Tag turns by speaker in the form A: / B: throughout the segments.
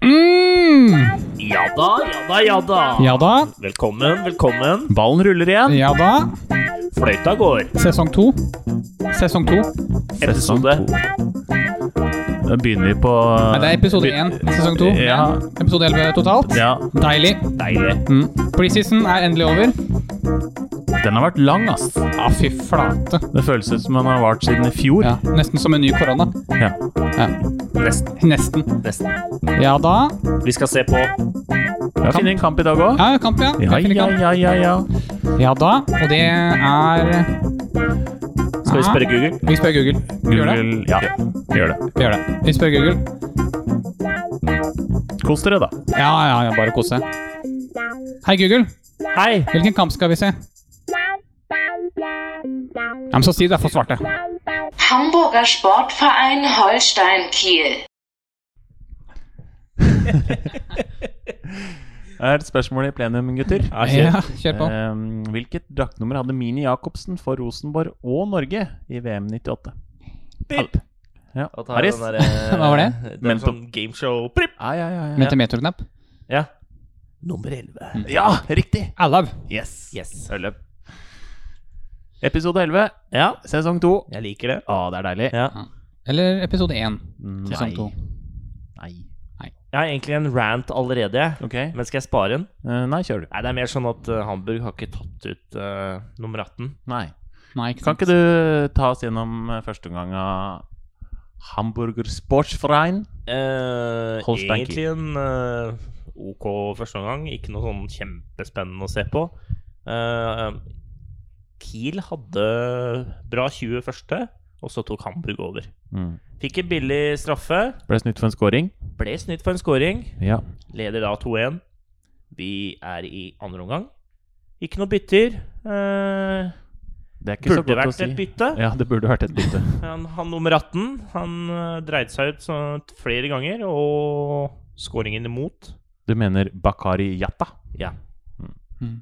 A: Mm.
B: Ja da, ja da, ja da.
A: Ja da.
B: Velkommen, velkommen. Ballen ruller igjen.
A: Ja da.
B: Fløyta går.
A: Sesong to. Sesong to.
B: Episode
C: Da begynner vi på
A: Nei, det er episode én. Sesong to.
C: Ja.
A: Episode elleve totalt.
C: Ja,
A: Deilig.
B: deilig.
A: Mm. Preseason er endelig over.
C: den har vært lang, ass.
A: Ja, fy flate.
C: Det føles ut som den har vart siden i fjor.
A: Ja, nesten som en ny korona.
C: Ja.
A: Ja.
B: Nesten,
A: Nesten.
B: nesten.
A: Ja da.
B: Vi skal se på
C: Vi har funnet en kamp i dag òg.
A: Ja, kamp, ja.
C: Ja,
A: Definitivt
C: ja,
A: kamp.
C: ja, ja, ja.
A: Ja da. Og det er
B: Skal vi spørre Google?
A: Vi spør Google. Vi gjør det.
C: Google Ja, gjør det.
A: Vi gjør det. Vi spør Google.
C: Kos dere, da.
A: Ja, ja, ja, bare kose. Hei, Google.
B: Hei!
A: Hvilken kamp skal vi se? Ja, men så si det er for svarte.
D: Hamburger Sportverein Holstein Kiel.
C: Her er et spørsmål i plenum, gutter.
A: Ja, kjør på.
C: Ehm, hvilket draktnummer hadde Mini Jacobsen for Rosenborg og Norge i VM 98?
B: Pip.
C: Ja.
B: Og ta
C: Aris?
B: den der, eh,
A: Hva var det?
B: Den
C: Mentor.
B: sånn gameshow Prip.
C: Ja, ja, ja, ja.
A: Mentimeterknapp.
C: ja.
B: Nummer 11.
C: ja, riktig!
A: Allav.
C: Yes.
B: Yes.
C: Øløp. Episode 11,
B: Ja,
C: sesong 2.
B: jeg liker det.
C: Å, det er deilig. Mm.
B: Ja.
A: Eller episode én. Sesong
C: Nei.
A: to.
C: Nei.
B: Jeg har egentlig en rant allerede, jeg.
C: Ok.
B: men skal jeg spare den?
C: Eh, nei, kjør du.
B: Nei, det er mer sånn at eh, Hamburg har ikke tatt ut eh, nummer 18.
C: Nei.
A: Nei, ikke
C: Kan
A: sant.
C: ikke du ta oss gjennom eh, første omgang av Hamburger Sportsverein?
B: Eh,
C: Holstein
B: egentlig en eh, OK første omgang. Ikke noe sånn kjempespennende å se på. Eh, Kiel hadde bra 20 første, og så tok Hamburg over.
C: Mm.
B: Fikk en billig straffe.
C: Ble snytt for en scoring.
B: Ble snytt for en scoring.
C: Ja.
B: Leder da 2-1. Vi er i andre omgang. Ikke noe bytter. Eh,
C: Det er ikke så
B: burde
C: godt å
B: vært
C: si.
B: et bytte.
C: Ja, det burde vært et bytte.
B: Han, han nummer 18 han eh, dreide seg ut sånn flere ganger, og scoringen imot.
C: Du mener Bakari Jatta?
B: Ja.
A: Mm.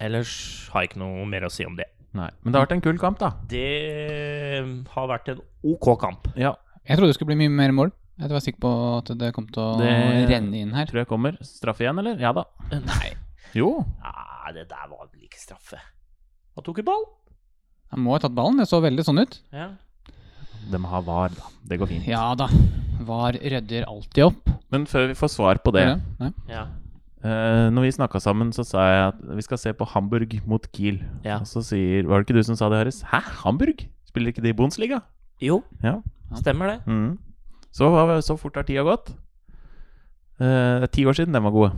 B: Ellers har jeg ikke noe mer å si om det.
C: Nei. Men det har vært en kul kamp, da.
B: Det har vært en OK kamp.
C: Ja,
A: Jeg trodde det skulle bli mye mer mål. Jeg var sikker på at det kom til å
C: Det-
A: renne inn her.
C: tror jeg kommer. Straff igjen, eller? Ja da.
B: Nei,
C: Jo.
B: ah, det der var vel ikke straffe. Han tok i ball.
A: Han må ha tatt ballen. Det så veldig sånn ut.
B: Ja.
C: De har var, da. Det går fint.
A: Ja da. VAR rydder alltid opp.
C: Men før vi får svar på det
A: Eller? Nei.
B: Ja.
C: eh, Når vi snakka sammen, så sa jeg at vi skal se på Hamburg mot Kiel.
B: Ja.
C: Og så sier Var det ikke du som sa det, Haris? Hæ? Hamburg? Spiller ikke de i Bundesliga?
B: Jo,
C: Ja.
B: stemmer det.
C: Mm. Så, hva- så fort har tida gått. Eh, det er ti år siden de var gode.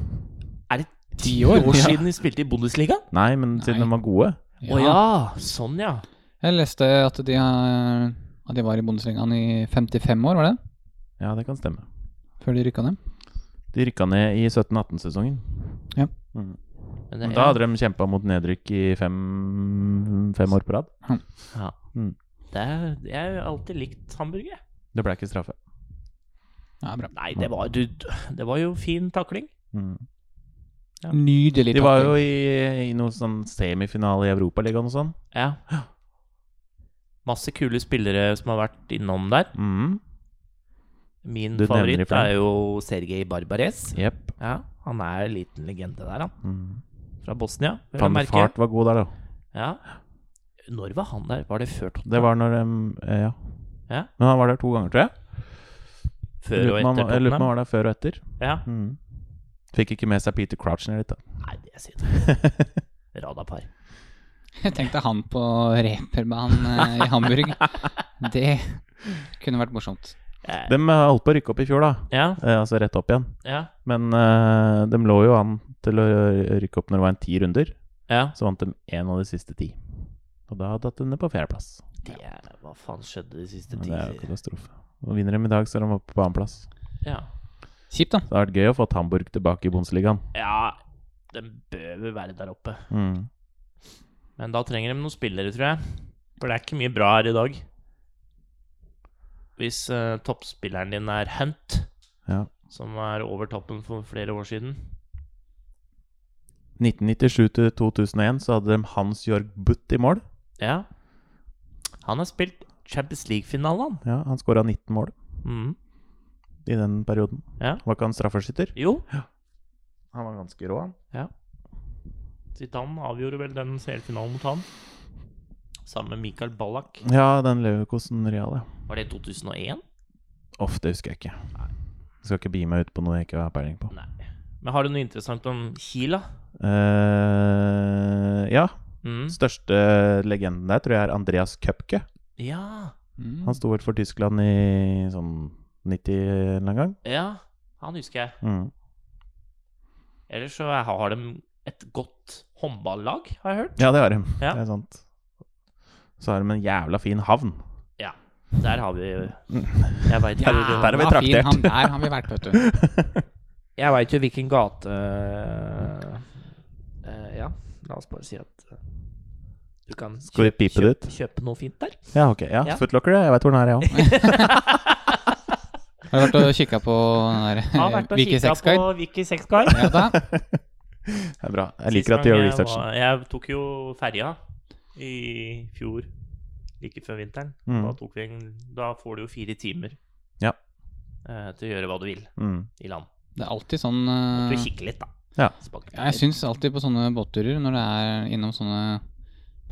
B: Er det ti
A: Ti år?
B: år
A: Ja.
B: siden de spilte i Bundesliga?
C: Nei, men siden
A: Nei.
C: de var gode.
B: Å ja. sånn ja.
A: Jeg leste at de, har, at de var i Bundesligaen i 55 år, var det?
C: Ja, det kan stemme.
A: Før de rykka ned.
C: De rykka ned i 17-18-sesongen.
A: Ja.
C: Mm.
B: Men
C: Men
B: det-
C: Da hadde de kjempa mot nedrykk i fem, fem år på rad.
B: ja.
C: Mm.
B: Det er, jeg har alltid likt hamburger. jeg.
C: Det ble ikke straffe.
A: Ja, bra.
B: Nei, det var, du, det var jo fin takling.
C: Mm.
B: Ja.
A: Nydelig
C: De var
A: takling.
C: jo i, i noen sånn semifinale i Europaligaen og sånn.
B: Ja. Masse kule spillere som har vært innom der.
C: Mm.
B: Min
C: Du nevner i
B: favoritt
C: fleng.
B: er jo Sergej Barbares.
C: Jepp.
B: Ja, han er en liten legende der, han.
C: Mm.
B: Fra Bosnia. vil jeg
C: Van
B: merke.
C: Fart var god der, da.
B: Ja. Når var han der? Var det før Tottenham?
C: Det var når de eh, Ja.
B: Ja.
C: Men han var der to ganger, tror jeg. Jeg
B: før og
C: lurer på om
B: etter
C: han- Jeg lurer på om
B: Tottenham.
C: han var der før og etter.
B: Ja.
C: Mm. Fikk ikke med seg Peter Crouchner litt, da.
B: Nei, det er synd. Radapar.
A: Jeg tenkte han på reperbanen eh, i Hamburg. Det kunne vært morsomt.
B: Eh,
C: De eh, holdt på å rykke opp i fjor, da.
B: Ja,
C: Eh, altså rett opp igjen.
B: ja,
C: Men eh, de lå jo an til å rykke opp når det var en ti runder.
B: ja.
C: Så vant de én av de siste ti. Og da hadde de henne på fjerdeplass.
B: Det er, hva faen skjedde de siste
C: Men
B: ti
C: Det er jo katastrofe. Og vinner de i dag, så er de oppe på annenplass.
B: Ja.
A: Kjipt, da.
C: Så det hadde vært gøy å få Hamburg tilbake i Bundesligaen.
B: ja, de bør vel være der oppe.
C: Mm.
B: Men da trenger de noen spillere, tror jeg. For det er ikke mye bra her i dag. Hvis eh, toppspilleren din er Hunt,
C: Ja.
B: som er over toppen for flere år siden
C: 1997 til 2001 så hadde de Hans-Jørg Butt i mål.
B: Ja. Han har spilt Champions League-finalen, han.
C: Ja, Han skåra 19 mål.
B: Mhm.
C: i den perioden.
B: Ja.
C: Var ikke han straffeskytter?
B: Jo,
C: Han var ganske rå, han.
B: Zidane avgjorde vel den CL-finalen mot han. Sammen med Mikael Ballack.
C: Ja, den Leverkosen Real, ja.
B: Var det 2001?
C: Uff, det husker jeg ikke. Jeg skal ikke bi meg ut på noe jeg ikke har peiling på.
B: Nei. Men har du noe interessant om Kiel, da?
C: Eh, ja.
B: Mm.
C: Største legenden der tror jeg er Andreas Køpke.
B: Ja.
A: Mm.
C: Han sto vel for Tyskland i sånn 90 en eller annen gang.
B: ja, han husker jeg.
C: Mm.
B: Ellers så har har de et godt håndballag, har jeg hørt.
C: Ja, det har de.
B: Ja.
C: Det er sant. Så har de en jævla fin havn.
B: Der har vi
C: Mm.
B: Jeg veit
A: Ja,
C: Der er vi
A: han var fin,
C: traktert.
A: Han der har vi vært, vet du.
B: Jeg veit jo hvilken gate eh, Ja, la oss bare si at eh, du kan
C: Skal vi pipe det ut?
B: kjøpe, kjøpe noe fint der.
C: Ja, ok. Ja,
B: Ja.
C: Footlocker, jeg veit hvor den er, jeg òg.
A: Har du vært og kikka på den
B: Jeg har
A: der,
B: vært og
A: Vicky
B: kikka på
A: Sexguide?
B: Wiki Sexguide.
A: Ja da.
C: Det er bra. Jeg
B: Sist
C: liker at de
B: gang
C: gjør
B: jeg
C: researchen.
B: var- Jeg tok jo ferja i fjor, like før vinteren.
C: Mm.
B: Da, tok vi en, da får du jo fire timer
C: Ja.
B: eh, til å gjøre hva du vil
C: Mm.
B: i land.
A: Det er alltid sånn
B: Du
A: eh,
B: kikker litt, da.
C: Ja.
B: Spanker
A: Ja, Jeg
B: litt.
A: syns alltid på sånne båtturer, når det er innom sånne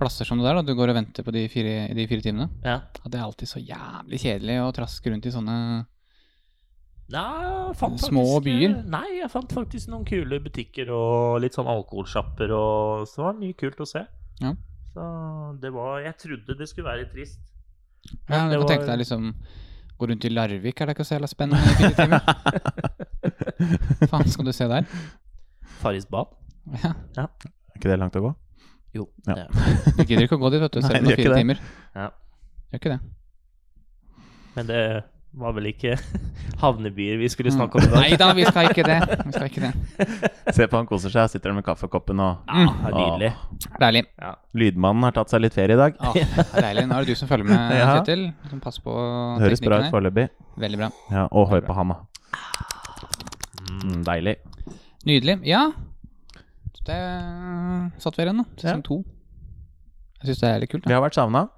A: plasser som det der, da du går og venter på de fire, i de fire timene,
B: ja.
A: at det er alltid så jævlig kjedelig å traske rundt i sånne
B: Nei, jeg fant
A: Små
B: faktisk, eh,
A: byer.
B: Nei, jeg fant faktisk noen kule butikker og litt sånn alkoholsjapper, og så var det mye kult å se.
A: Ja.
B: Så det var Jeg trodde det skulle være litt trist.
A: ja, Du
B: det
A: kan
B: var-
A: tenke deg liksom Gå rundt i Larvik, er det ikke så jævla spennende i fire timer? Hva faen skal du se der?
B: Farris bad.
A: Ja.
C: Er ikke det langt å gå?
B: Jo.
C: Ja.
B: det-
A: Du gidder ikke å gå dit, vet du, selv
C: Nei,
A: om det
C: det
A: er
C: gjør
A: fire
C: ikke
A: timer.
B: Ja.
A: Gjør ikke det.
B: Men det var vel ikke havnebyer vi
A: Mm.
B: skulle snakke om i dag.
A: Nei da, vi skal ikke det. Vi skal ikke det.
C: Se på han koser seg, sitter der med kaffekoppen og
B: Ja, det er nydelig.
A: Mm, Deilig.
C: Lydmannen har tatt seg litt ferie i dag.
A: Ah, deilig. Nå er det du som følger med,
C: Ja.
A: Kjetil. Som passer på
C: Det høres bra
A: Ah, teknikken
C: ut
A: her.
C: foreløpig.
A: Veldig bra.
C: Ja, og hør på han, da. Mm, deilig.
A: Nydelig. Ja. Det satt vi igjen, da. Sesong
C: Ja.
A: to. Jeg syns det er litt kult.
C: Vi
A: Da.
C: har vært savna.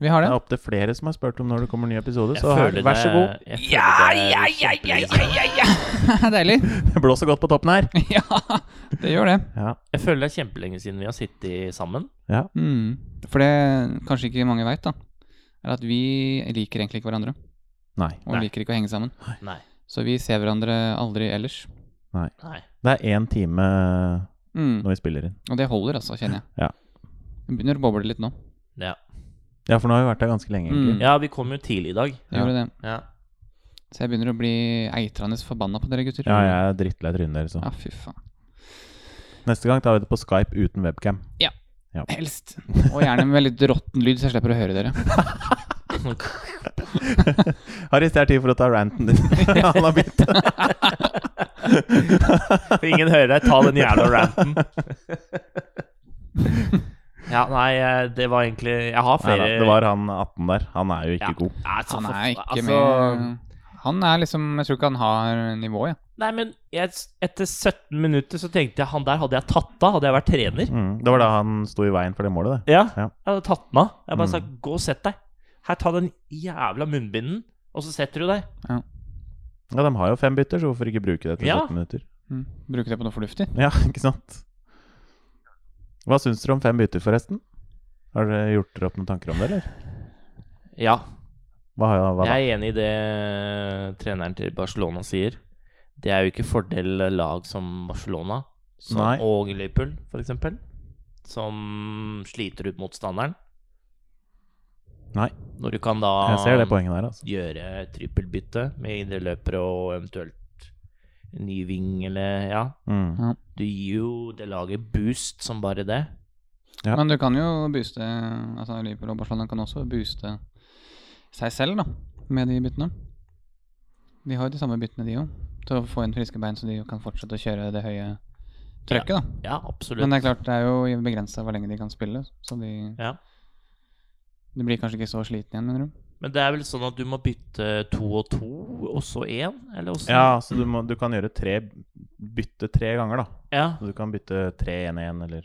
A: Vi har
C: Det
A: det.
C: er opptil flere som har spurt om når det kommer ny episode,
B: Jeg
C: så
B: føler det-
C: vær så god.
B: jeg føler det er kjempelenge siden.
A: Deilig.
C: Det blåser godt på toppen her.
A: ja, det gjør det.
C: Ja.
B: Jeg føler det er kjempelenge siden vi har sittet sammen.
A: Mm. For det kanskje ikke mange veit, da, er at vi liker egentlig ikke hverandre.
C: Nei.
A: Og
B: Nei.
A: liker ikke å henge sammen.
B: Nei.
A: Så vi ser hverandre aldri ellers.
B: Nei.
C: Det er én time eh,
A: Mm.
C: når vi spiller inn.
A: Og det holder, altså, kjenner jeg.
C: Ja.
A: Det begynner å boble litt nå.
B: Ja.
C: Ja, for nå har vi vært der ganske lenge, egentlig.
A: Mm.
B: ja, vi kom jo tidlig i dag.
A: Det gjorde det.
B: Ja.
A: Så jeg begynner å bli eitrende forbanna på dere gutter.
C: Ja, jeg er drittlei trynet deres. så.
A: ja fy faen.
C: Neste gang tar vi det på Skype uten webcam.
A: Helst. Og gjerne med litt råtten lyd, så jeg slipper å høre dere.
C: Haris, det er tid for å ta ranten din. Han har begynt.
B: For ingen hører deg ta den jævla ranten. ja, nei, eh, det var egentlig Jeg har
C: Nei
B: flere
C: da, det var han 18 der. Han er jo
B: ja.
C: ikke god.
B: Nei, så
A: Han
B: for-
A: er ikke
B: altså-
A: med Han er liksom Jeg tror ikke han har nivået, ja.
B: Nei, men jeg, etter 17 minutter så tenkte jeg han der hadde jeg tatt av, hadde jeg vært trener.
C: Mm. Det var da han sto i veien for det målet, det.
B: Ja,
C: Ja.
B: jeg hadde tatt den av. Jeg bare
C: Mm.
B: sa 'gå og sett deg'. Her, ta den jævla munnbinden, og så setter du deg.
C: Ja, de har jo fem bytter, så hvorfor ikke bruke det til
B: Ja.
C: 17 minutter?
A: Mm. Bruke det på noe fornuftig.
C: Ja, ikke sant? Hva syns dere om fem bytter, forresten? Har dere gjort dere opp noen tanker om det, eller?
B: Ja,
C: Hva, hva da?
B: jeg er enig i det treneren til Barcelona sier. Det er jo ikke fordel eh, lag som Barcelona som,
C: Nei.
B: og Liverpool, f.eks., som sliter ut motstanderen.
C: Nei.
B: Når du kan da
C: Jeg ser det poenget der, altså.
B: gjøre trippelbytte med indreløpere og eventuelt en ny ving eller Ja.
C: Mm.
B: Du gir jo det laget boost som bare det.
C: Ja.
A: Men du kan jo booste Altså Liverpool og Barcelona kan også booste seg selv, da, med de byttene. De har jo de samme byttene, de òg. Til å få inn friske bein, så de jo kan fortsette å kjøre det høye trøkket, da.
B: Ja, absolutt.
A: Men det er klart, det er jo begrensa hvor lenge de kan spille, så de
B: Ja.
A: De blir kanskje ikke så slitne igjen, mener du?
B: Men det er vel sånn at du må bytte to og to, og så én, eller åssen?
C: Ja, så du, må, du kan gjøre tre Bytte tre ganger, da.
B: ja.
C: Så Du kan bytte 3-1-1 eller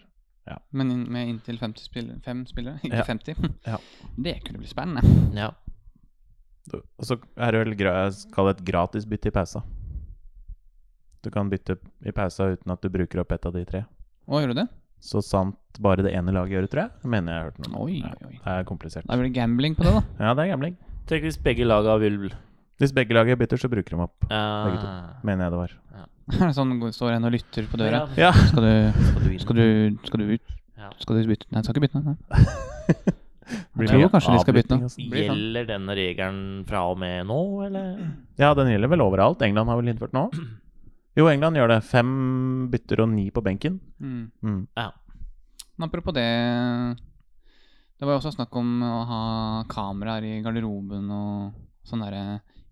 A: Men inn- med inntil 50 spill, fem spillere? Ikke
C: Ja.
A: 50?
C: Ja.
A: Det kunne bli spennende.
B: Ja.
C: Og så er det vel gra- kall det et gratis bytte i pausa. Du kan bytte i pausa uten at du bruker opp ett av de tre.
A: Å, gjør du det?
C: Så sant bare det ene laget gjør det, tror jeg. Det mener jeg har hørt noe om.
A: Oi,
C: Ja,
A: oi, oi.
C: Det er komplisert.
A: Da blir det gambling på det, da.
C: Ja, det er gambling.
B: Tenk hvis begge laga vil
C: Hvis begge laget bytter, så bruker de opp. Begge to.
B: uh,
C: Mener jeg det var.
A: Er det sånn går- står en og lytter på døra.
C: Ja.
A: Skal du,
B: Skal du
A: skal
B: inn?
A: du, skal du ut?
B: Ja.
A: Skal du bytte? Nei, skal ikke bytte. Nei.
C: Blir
A: Jeg tror
C: mye
A: kanskje de skal bytte nå.
C: avlytting, altså.
A: blir sånn.
B: Gjelder denne regelen fra og med nå, eller?
C: Ja, den gjelder vel overalt. England har vel innført nå? Jo, England gjør det. Fem bytter og ni på benken.
A: Mm.
C: Mm.
B: Ja.
A: Men Apropos det Det var jo også snakk om å ha kameraer i garderoben og sånn derre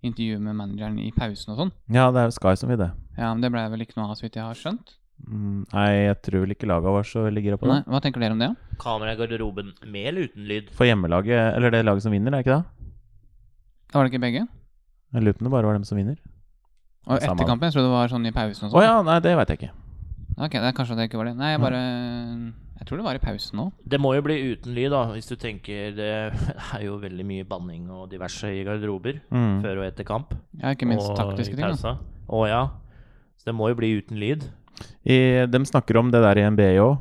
A: intervju med manageren i pausen og sånn.
C: Ja, det er jo Sky som vil det.
A: Ja, men det blei vel ikke noe av, så vidt jeg har skjønt.
C: Mm. Nei, jeg tror vel ikke laget var så veldig gira på det.
A: Nei, Hva tenker dere om det? da?
B: Kamera i garderoben med eller uten lyd?
C: For hjemmelaget, eller det laget som vinner, er det ikke det?
A: Da var det ikke begge?
C: Jeg lurer på om det bare var dem som vinner.
A: Og
C: Samme.
A: etter kampen? Jeg trodde det var sånn i pausen og
C: Å
A: sånn.
C: ja, nei, det veit jeg ikke.
A: Ok, det er kanskje det ikke var det. Nei, jeg bare Jeg tror det var i pausen nå.
B: Det må jo bli uten lyd, da, hvis du tenker det er jo veldig mye banning og diverse i garderober
C: Mm.
B: før og etter kamp.
A: Ja, ikke minst
B: og
A: taktiske
B: i
A: ting. da.
B: pausa. Å ja. Så det må jo bli uten lyd.
C: I, de snakker om det der i NBA òg,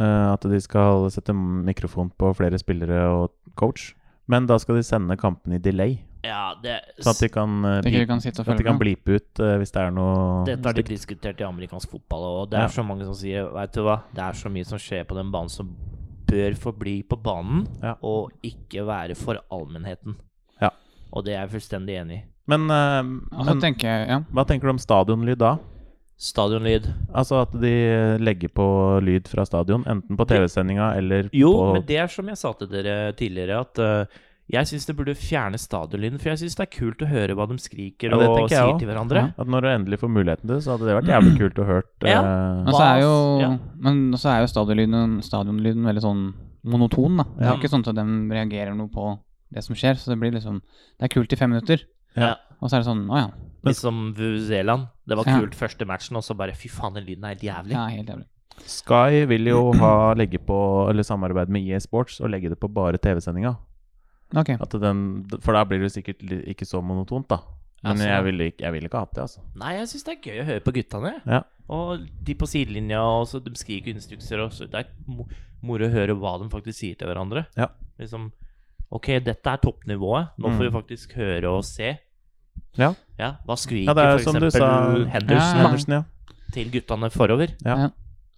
C: eh, at de skal sette mikrofon på flere spillere og coach. Men da skal de sende kampen i delay,
B: Ja, det
C: sånn at de kan, eh,
A: Tenker
C: bleep-
A: du kan sitte og
C: at de
A: følge
C: kan
A: med?
C: bleepe ut eh, hvis det er noe
B: Dette har de diskutert i amerikansk fotball, og det
C: Ja.
B: er så mange som sier Vet du hva, det er så mye som skjer på den banen som bør forbli på banen,
C: Ja.
B: og ikke være for allmennheten.
C: Ja.
B: Og det er jeg fullstendig enig i.
C: Men, eh,
A: Og så
C: men
A: tenker jeg, ja.
C: hva tenker du om stadionlyd da?
B: Stadionlyd.
C: Altså at de legger på lyd fra stadion, enten på TV-sendinga eller
B: Jo,
C: på
B: men det er som jeg sa til dere tidligere, at eh, jeg syns det burde fjerne stadionlyden, for jeg syns det er kult å høre hva de skriker
C: Ja, det
B: og
C: tenker jeg
B: sier
C: også.
B: til hverandre.
C: At når du endelig får muligheten til det, så hadde det vært jævlig kult å hørt.
B: Ja.
C: eh,
A: Men så er jo,
B: Ja.
A: men så er jo stadionlyden, stadionlyden veldig sånn monoton, da. Det
B: Ja.
A: er ikke sånn at de reagerer noe på det som skjer, så det blir liksom Det er kult i fem minutter,
C: Ja.
A: og så er det sånn Å ja.
C: Men-
B: Litt som Vuzeland. Liksom Det var
A: Ja.
B: kult første matchen, og så bare fy faen, den lyden er helt jævlig.
A: Ja, helt jævlig.
C: Sky vil jo ha legge på, eller samarbeid med EA Sports og legge det på bare TV-sendinga.
A: Ok.
C: At den- For da blir det sikkert li- ikke så monotont, da. Men
B: Altså-
C: jeg ville ikke, jeg ville ikke hatt det, altså.
B: Nei, jeg syns det er gøy å høre på guttene.
C: Ja.
B: Og de på sidelinja, og så de skriker instrukser, og så det er mo- moro å høre hva de faktisk sier til hverandre.
C: Ja.
B: Liksom Ok, dette er toppnivået. Nå får vi faktisk høre og se.
C: Mm. Ja.
B: Ja, Hva skriker
C: Ja, det er jo
B: for
C: som du
B: eksempel
C: sa-
B: Henderson
A: Ja.
C: Andersen, ja.
B: til guttene forover?
A: Ja,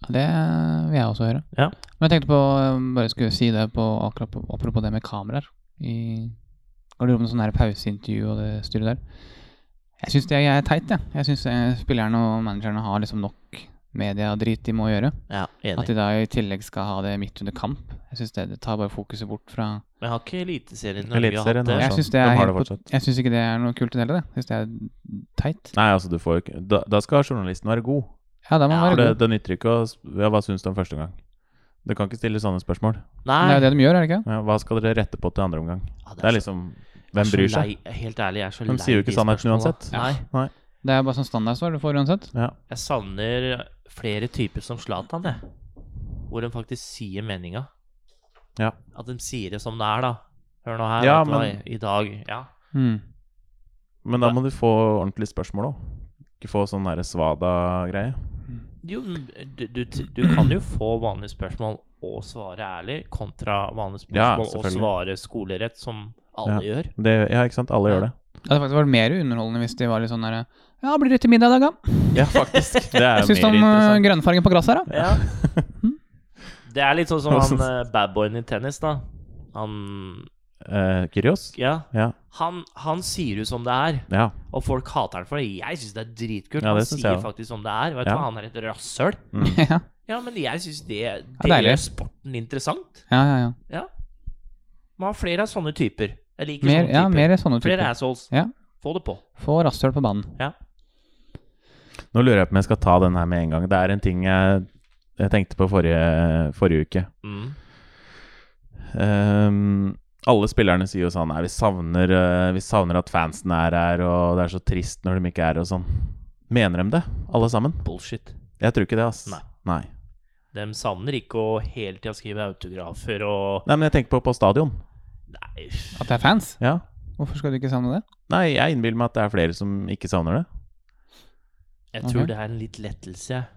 A: Det vil jeg også høre.
B: Ja.
A: Men jeg tenkte på um, Bare skulle si det på akkurat på- apropos det med kameraer i garderoben. Sånn her pauseintervju og det styret der. Jeg syns det er teit, jeg. Jeg syns spillerne og managerne har liksom nok mediedrit de må gjøre.
B: Ja,
A: At
B: enig.
A: de da i tillegg skal ha det midt under kamp. Jeg synes det, det tar bare fokuset bort fra
B: Men har ikke Eliteserien Norge
C: Eliteserien
B: hatt det?
C: er
A: Jeg
C: sant.
A: syns det,
C: De
A: er
C: har
A: helt
C: det
A: på-
C: fortsatt.
A: jeg synes ikke det er noe kult i det hele tatt. Jeg synes det er teit.
C: Nei, altså, du får jo ikke Da, da skal journalisten være god.
A: Ja, da må man
B: Ja,
A: være
C: For det,
A: god.
C: det nytter ikke å s- ja, Hva syns du om første omgang? Du kan ikke stille sånne spørsmål.
A: Men Det er
B: Nei.
A: jo det de gjør, er det ikke?
C: Ja, hva skal dere rette på til andre omgang?
B: Ja,
C: Det er liksom Hvem
B: så
C: bryr seg?
B: Lei, helt ærlig, jeg er så lei
C: De sier jo
B: de
C: ikke sannheten
B: spørsmåla.
C: uansett.
B: Nei.
C: Nei.
A: Det er bare sånn standardsvar du får uansett.
C: Ja.
B: Jeg savner flere typer som Zlatan, jeg. Hvor de faktisk sier meninga.
C: Ja.
B: At de sier det som det er, da. Hør nå her,
C: Ja,
B: vet du hva,
C: men-
B: i dag. Ja.
A: Mm.
C: Men da må du få ordentlige spørsmål òg. Ikke få sånn derre svada-greie.
B: Jo, men du, du, du kan jo få vanlige spørsmål og svare ærlig, kontra vanlige
C: Ja,
B: spørsmål og
C: selvfølgelig.
B: svare skolerett, som alle gjør.
C: Det, ja, ikke sant? Alle gjør det.
A: Det hadde faktisk vært mer underholdende hvis de var litt sånn der Ja, blir det til middag i dag, da?
C: Ja, faktisk. Det er
A: Jeg syns
C: jo
A: om
C: mer
A: eh,
C: interessant.
A: grønnfargen på gresset her, da.
B: Ja. Det er litt sånn som han
C: Hvordan-
B: eh, badboyen i tennis, da. Han
C: Eh, Kyrios?
B: Ja.
C: Ja.
B: Han, han sier jo som det er.
C: Ja.
B: Og folk hater han for det. Jeg syns det er dritkult.
C: Ja, det
B: han
C: synes
B: sier
C: jeg også.
B: faktisk som det er. Vet du
C: Ja.
B: hva, han er et rasshøl.
A: ja,
B: Ja, men jeg syns det,
A: er
B: det
A: deilig.
B: gjør sporten interessant.
A: ja, ja. ja.
B: Ja. Man har flere av sånne typer. Jeg liker
A: Mer,
B: sånne
A: ja,
B: typer.
A: mer sånne
B: flere
A: typer.
B: assholes.
A: Ja.
B: Få det på.
A: Få rasshøl på banen.
C: Nå lurer jeg på om jeg skal ta den her med en gang. Det er en ting jeg, jeg tenkte på forrige, forrige uke.
B: Mm.
C: Ehm, alle spillerne sier jo sånn Nei, vi savner, eh, vi savner at fansen er her, og det er så trist når de ikke er her, og sånn. Mener de det, alle sammen?
B: Bullshit.
C: Jeg tror ikke det, ass.
B: Nei.
C: Nei.
B: De savner ikke å hele tida skrive autografer og
C: Nei, men jeg tenker på på stadion.
B: Nei,
A: At det er fans?
C: Ja.
A: Hvorfor skal du ikke savne det?
C: Nei, jeg innbiller meg at det er flere som ikke savner det.
B: Jeg tror
A: Ok.
B: det er en litt lettelse. jeg.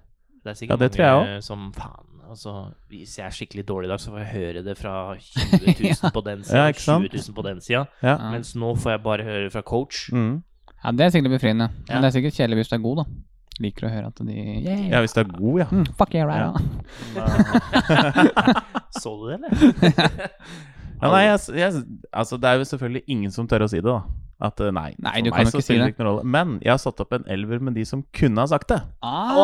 B: Det er
C: Ja,
B: sikkert
C: det tror jeg
B: mange som faen altså, Hvis jeg er skikkelig dårlig i dag, så får jeg høre det fra 20 000 på den sida,
C: Ja, ikke sant?
B: 20 000 på den sida.
C: Ja.
A: Ja.
B: Mens nå får jeg bare høre fra coach.
C: Mm.
A: Ja, Det er sikkert befriende.
B: Ja.
A: Men det er sikkert kjedelig hvis du er god, da. Liker å høre at de yeah.
C: ja, hvis du er god, ja.
A: mm, Fuck yeah, right
C: Ja.
A: on.
B: Så du det, eller?
C: ja nei, jeg, jeg, altså, det er jo selvfølgelig ingen som tør å si det, da. At eh, nei,
A: Nei,
C: for
A: du kan
C: meg
A: jo
C: så
A: ikke si
C: spiller
A: det.
C: ikke noen rolle. Men jeg har satt opp en elver med de som kunne ha sagt det.
A: Ah,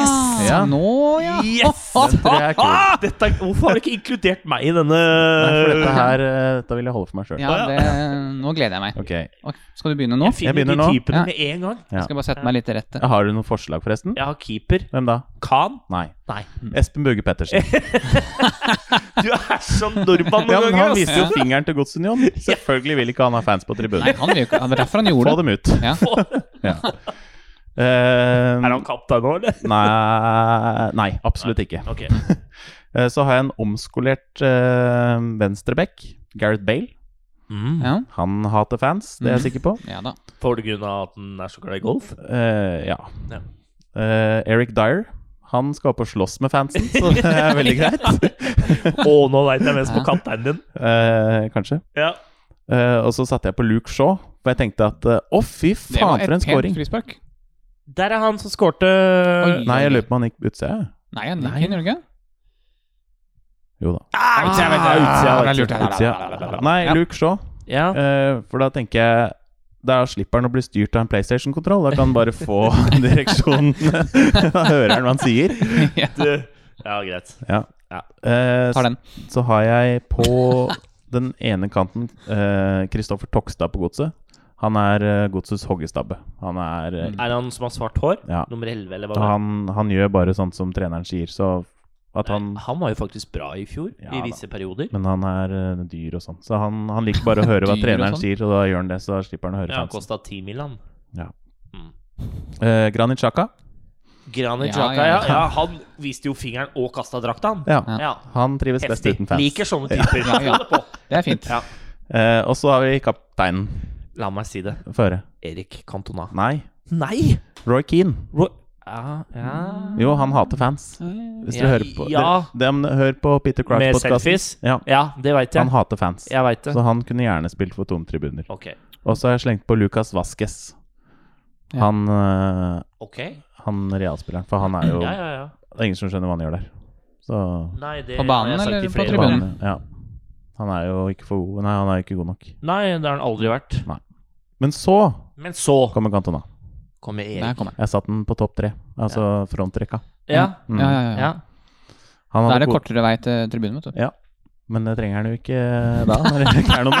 B: yes!
A: Ja.
C: Ja.
A: Nå, ja.
B: Yes!
C: Den tror jeg er kul.
B: Ah, dette, er- hvorfor har du ikke inkludert meg i denne
C: Nei, for dette her eh, Dette vil jeg holde for meg sjøl.
A: ja det, nå gleder jeg meg.
C: Ok.
A: Ok, skal du begynne nå?
B: Jeg finner
C: begynner
B: de
C: nå.
B: typene
A: Ja.
B: med en gang.
C: Ja.
A: Skal jeg bare sette meg litt til rette.
C: Ja, Har du noen forslag, forresten?
B: Jeg har keeper.
C: Hvem da?
B: Khan?
C: Nei.
B: Nei.
A: Mm.
C: Espen Buge Pettersen.
B: Du er sånn nordmann
C: Ja, men
B: noen
C: han
B: ganger. ass.
C: viser jo fingeren til Godsunion. Selvfølgelig vil ikke han ha fans på
A: Nei,
C: tribunen.
A: han vil jo ikke. Det er derfor han
C: Få
A: gjorde det.
C: dem ut.
A: Ja.
C: Ja. Eh,
B: Er han kaptein nå, eller?
C: nei, nei, absolutt ikke.
B: Ok.
C: Eh, Så har jeg en omskolert eh, venstreback, Gareth Bale.
B: Mm.
A: Ja.
C: Han hater fans, det er
A: Mhm.
C: jeg sikker på.
A: ja da.
B: På grunn av at han er så glad i golf?
C: Eh, ja.
B: Ja.
C: Eh, Eric Dyer. Han skal opp og slåss med fansen, så det er veldig greit.
B: Å, nå veit jeg hvem som er kapteinen din.
C: Eh, kanskje.
B: Ja.
C: Eh, og så satte jeg på Luke Shaw, for jeg tenkte at eh, å, fy
A: Det var
C: faen, for en
A: et pent
C: scoring!
A: frispark.
B: Der er han som skårte
A: Oi.
C: Nei, jeg lurer på om han gikk på utsida. jeg.
A: Nei, han
C: Nei.
A: gikk inn, gjorde han ikke?
C: Jo da.
B: Ah, utsida, vet jeg,
A: Ah,
B: utsida, vet jeg.
A: det er lurt,
C: Utsida. Nei,
A: Ja.
C: Luke Shaw.
B: Ja.
C: Eh, for da tenker jeg da slipper han å bli styrt av en PlayStation-kontroll. Da kan han bare få direksjonen. da hører han hva han sier.
B: Du- ja, greit.
C: Ja.
B: Ja.
C: Eh,
A: Tar den.
C: Så har jeg på den ene kanten eh, Kristoffer Tokstad på godset. Han er eh, godsets hoggestabbe. Han er eh,
B: Er han som har svart hår?
C: Ja.
B: Nummer 11, eller hva
C: og
B: det er?
C: han, han gjør bare sånt som treneren sier, så at han
B: Nei, han var jo faktisk bra i fjor,
C: Ja
B: i
C: da.
B: visse perioder.
C: Men han er eh, dyr og sånn, så han, han liker bare å høre hva
A: Dyr og
C: treneren
A: sånn?
C: sier, og da gjør han det, så da slipper han å høre
B: Ja, han
C: fansen.
B: kosta 10 mil, han.
C: Eh, Granit Xhaka.
B: Granit
A: Ja,
B: Xhaka,
A: ja,
B: ja,
A: ja.
B: ja. Han viste jo fingeren og kasta drakta, han.
C: Ja.
B: Ja.
C: Han trives best
B: Heftig.
C: uten fans.
B: Liker sånne typer.
A: Ja, ja.
B: Hold på.
A: Det er fint.
B: Ja.
C: Eh, og så har vi kapteinen.
B: La meg si det.
C: Få høre.
B: Erik Cantona.
C: Nei,
B: Nei!
C: Roy Keane.
B: Ro ja, ja.
C: Jo, han hater fans. Hvis dere
B: Ja,
C: hører på
B: ja.
C: dere, dem, Hør på Peter
B: Med
C: Crouch-podkasten.
B: selfies?
C: Ja,
B: ja det veit
C: han
B: jeg.
C: hater fans.
B: Jeg veit det.
C: Så han kunne gjerne spilt for tomme tribuner.
B: Ok.
C: Og så har jeg slengt på Lucas Vasques.
A: Ja.
C: Han, eh,
B: Ok.
C: han realspilleren, for han er jo
B: Ja, ja, ja.
C: Det er ingen som skjønner hva han gjør der. Så
B: Nei, det
A: På banen,
B: har jeg sagt
A: eller
B: i
A: på
B: flere
A: tribunen?
B: år.
C: han, ja. han er jo ikke for god Nei, han er jo ikke god nok.
B: Nei, det har han aldri vært.
C: Men så
B: Men så
C: kommer Cantona.
B: kommer
A: Der
B: Erik.
A: kommer den.
C: Jeg satte den på topp tre, altså frontrekka.
B: Ja,
C: Mm.
A: Ja, ja, ja.
B: ja.
C: Han
A: Da
C: hadde
A: er det
C: god-
A: kortere vei til tribunen, vet du.
C: Ja, men det trenger han jo ikke eh, da, når det ikke er noen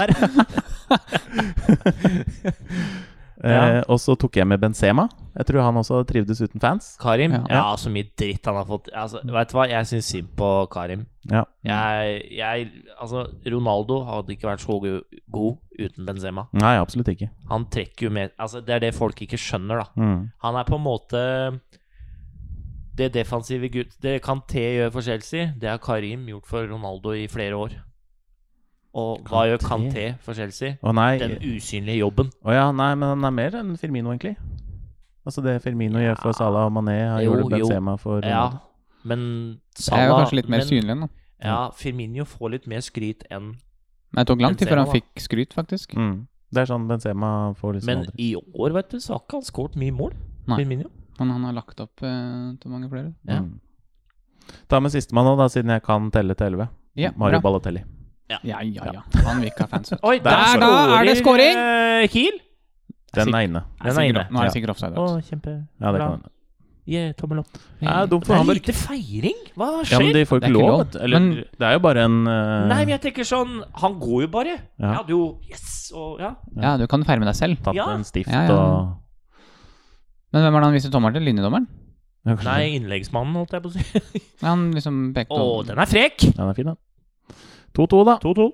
C: der. eh, og så tok jeg med Benzema. Jeg tror han også trivdes uten fans.
B: Karim.
A: Ja.
B: Ja. så mye dritt han har fått. Altså, vet du hva, jeg syns synd på Karim.
C: Ja,
A: Mm.
B: Jeg, jeg Altså, Ronaldo hadde ikke vært så go- god uten Benzema.
C: Nei, absolutt ikke.
B: Han trekker jo med Altså, det er det folk ikke skjønner, da.
C: Mm.
B: Han er på en måte det defensive gutt Det Kanté gjør for Chelsea, det har Karim gjort for Ronaldo i flere år. Og hva gjør Kanté
C: Kanté?
B: for Chelsea?
C: Å nei,
B: Den usynlige jobben.
C: Å ja, nei, men han er mer enn Firmino, egentlig. Altså det Firmino gjør for Salah og Mané, han
B: Jo,
C: gjorde
B: jo.
C: Benzema for
B: Ja, men
A: Jeg er jo
B: Salah
A: kanskje litt mer
B: men,
A: synlig nå.
B: Ja, Firmino får litt mer skryt enn
A: Men det tok lang tid før han
B: Benzema,
A: fikk skryt, faktisk.
C: Mm. Det er sånn Benzema får liksom
B: Men
C: aldri
B: i år, vet du, så har ikke han skåret mye mål.
A: Nei.
B: Firmino.
A: Men han har lagt opp eh, til mange flere.
B: ja.
C: mm. Ta med sistemann nå, da, siden jeg kan telle til elleve.
A: Ja,
C: Mario
A: bra.
C: Balotelli.
A: Ja, ja, ja. Han vil ikke ha fans. vet du.
B: Oi,
C: Der,
B: der,
C: da,
A: er det scoring!
B: eh, Kiel.
C: Den er inne.
B: Den er inne.
A: Sikkert- Nå er det
C: Ja.
A: sikkert offside.
B: Å,
A: vet
B: kjempe.
C: Ja, det
B: Bra.
C: kan hende.
B: Yeah, tommel opp.
A: du.
C: Ja, dumt
B: Det
C: for
B: er
C: Hamburg.
B: lite feiring. Hva
C: Ja,
B: skjer?
C: men de får
A: Det er ikke
C: ikke lov.
A: lov.
C: vet du. Eller,
A: Men-
C: det er jo bare en eh,
B: Nei, men jeg tenker sånn Han går jo bare.
C: Ja.
B: Jeg hadde jo Yes! Og ja.
A: Ja, du kan ferme deg selv.
C: tatt
B: Ja.
C: en stift
A: Ja, ja.
C: og
A: Men hvem er det han viser tommelen til? Linjedommeren?
C: Ja, kanskje.
B: Nei, innleggsmannen, holdt jeg på å si.
A: Ja, Han liksom pekte
B: Å,
A: over-
B: den er frekk!
C: Den er fin, den. 2-2, da.
B: 2-2.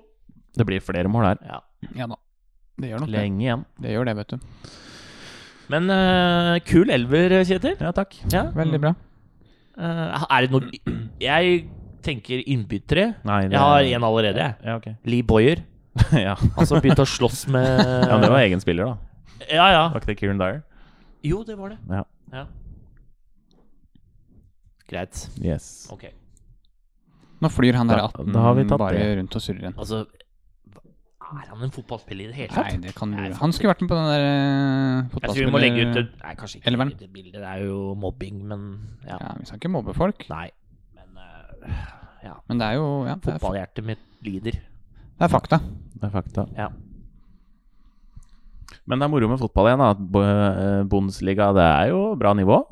C: Det blir flere mål her.
B: Ja.
A: Ja da. Det gjør nok det.
C: Lenge igjen.
A: Det gjør det, vet du.
B: Men eh, kul elver, Kjetil.
C: Ja, takk.
B: Ja.
C: Mm.
A: Veldig bra.
B: Eh, er det noe Jeg tenker innbyttere.
C: Nei, det-
B: Jeg har en allerede, jeg.
C: Ja, ok.
B: Lee Boyer.
C: ja.
B: Han som begynte å slåss med
C: ja, men det var egen spiller, da.
B: Ja, ja.
C: Var ikke det Kieran Dyer?
B: Jo, det var det.
C: Ja.
B: Ja. Greit.
C: Yes.
B: Ok.
A: Nå flyr han der
C: Da-
A: 18
C: da har vi tatt
A: bare
C: det.
A: rundt og surrer igjen.
B: Altså hva- Er han en fotballspiller i det hele
A: Nei,
B: tatt?
A: det kan du
B: Jeg er
A: Han skulle vært med på den der eh,
B: Jeg tror vi må legge ut
A: fotballspiller...
B: et Nei, kanskje ikke.
A: Elveren.
B: Det bildet det er jo mobbing, men ja.
A: Ja, vi skal ikke mobbe folk.
B: Nei. Men eh, ja.
A: Men det er jo ja, det, er, fa-
B: Fotballhjertet mitt lider.
A: det er fakta.
C: Det er fakta.
B: Ja.
C: Men det er moro med fotball igjen. da Bo- eh, Bundesliga det er jo bra nivå.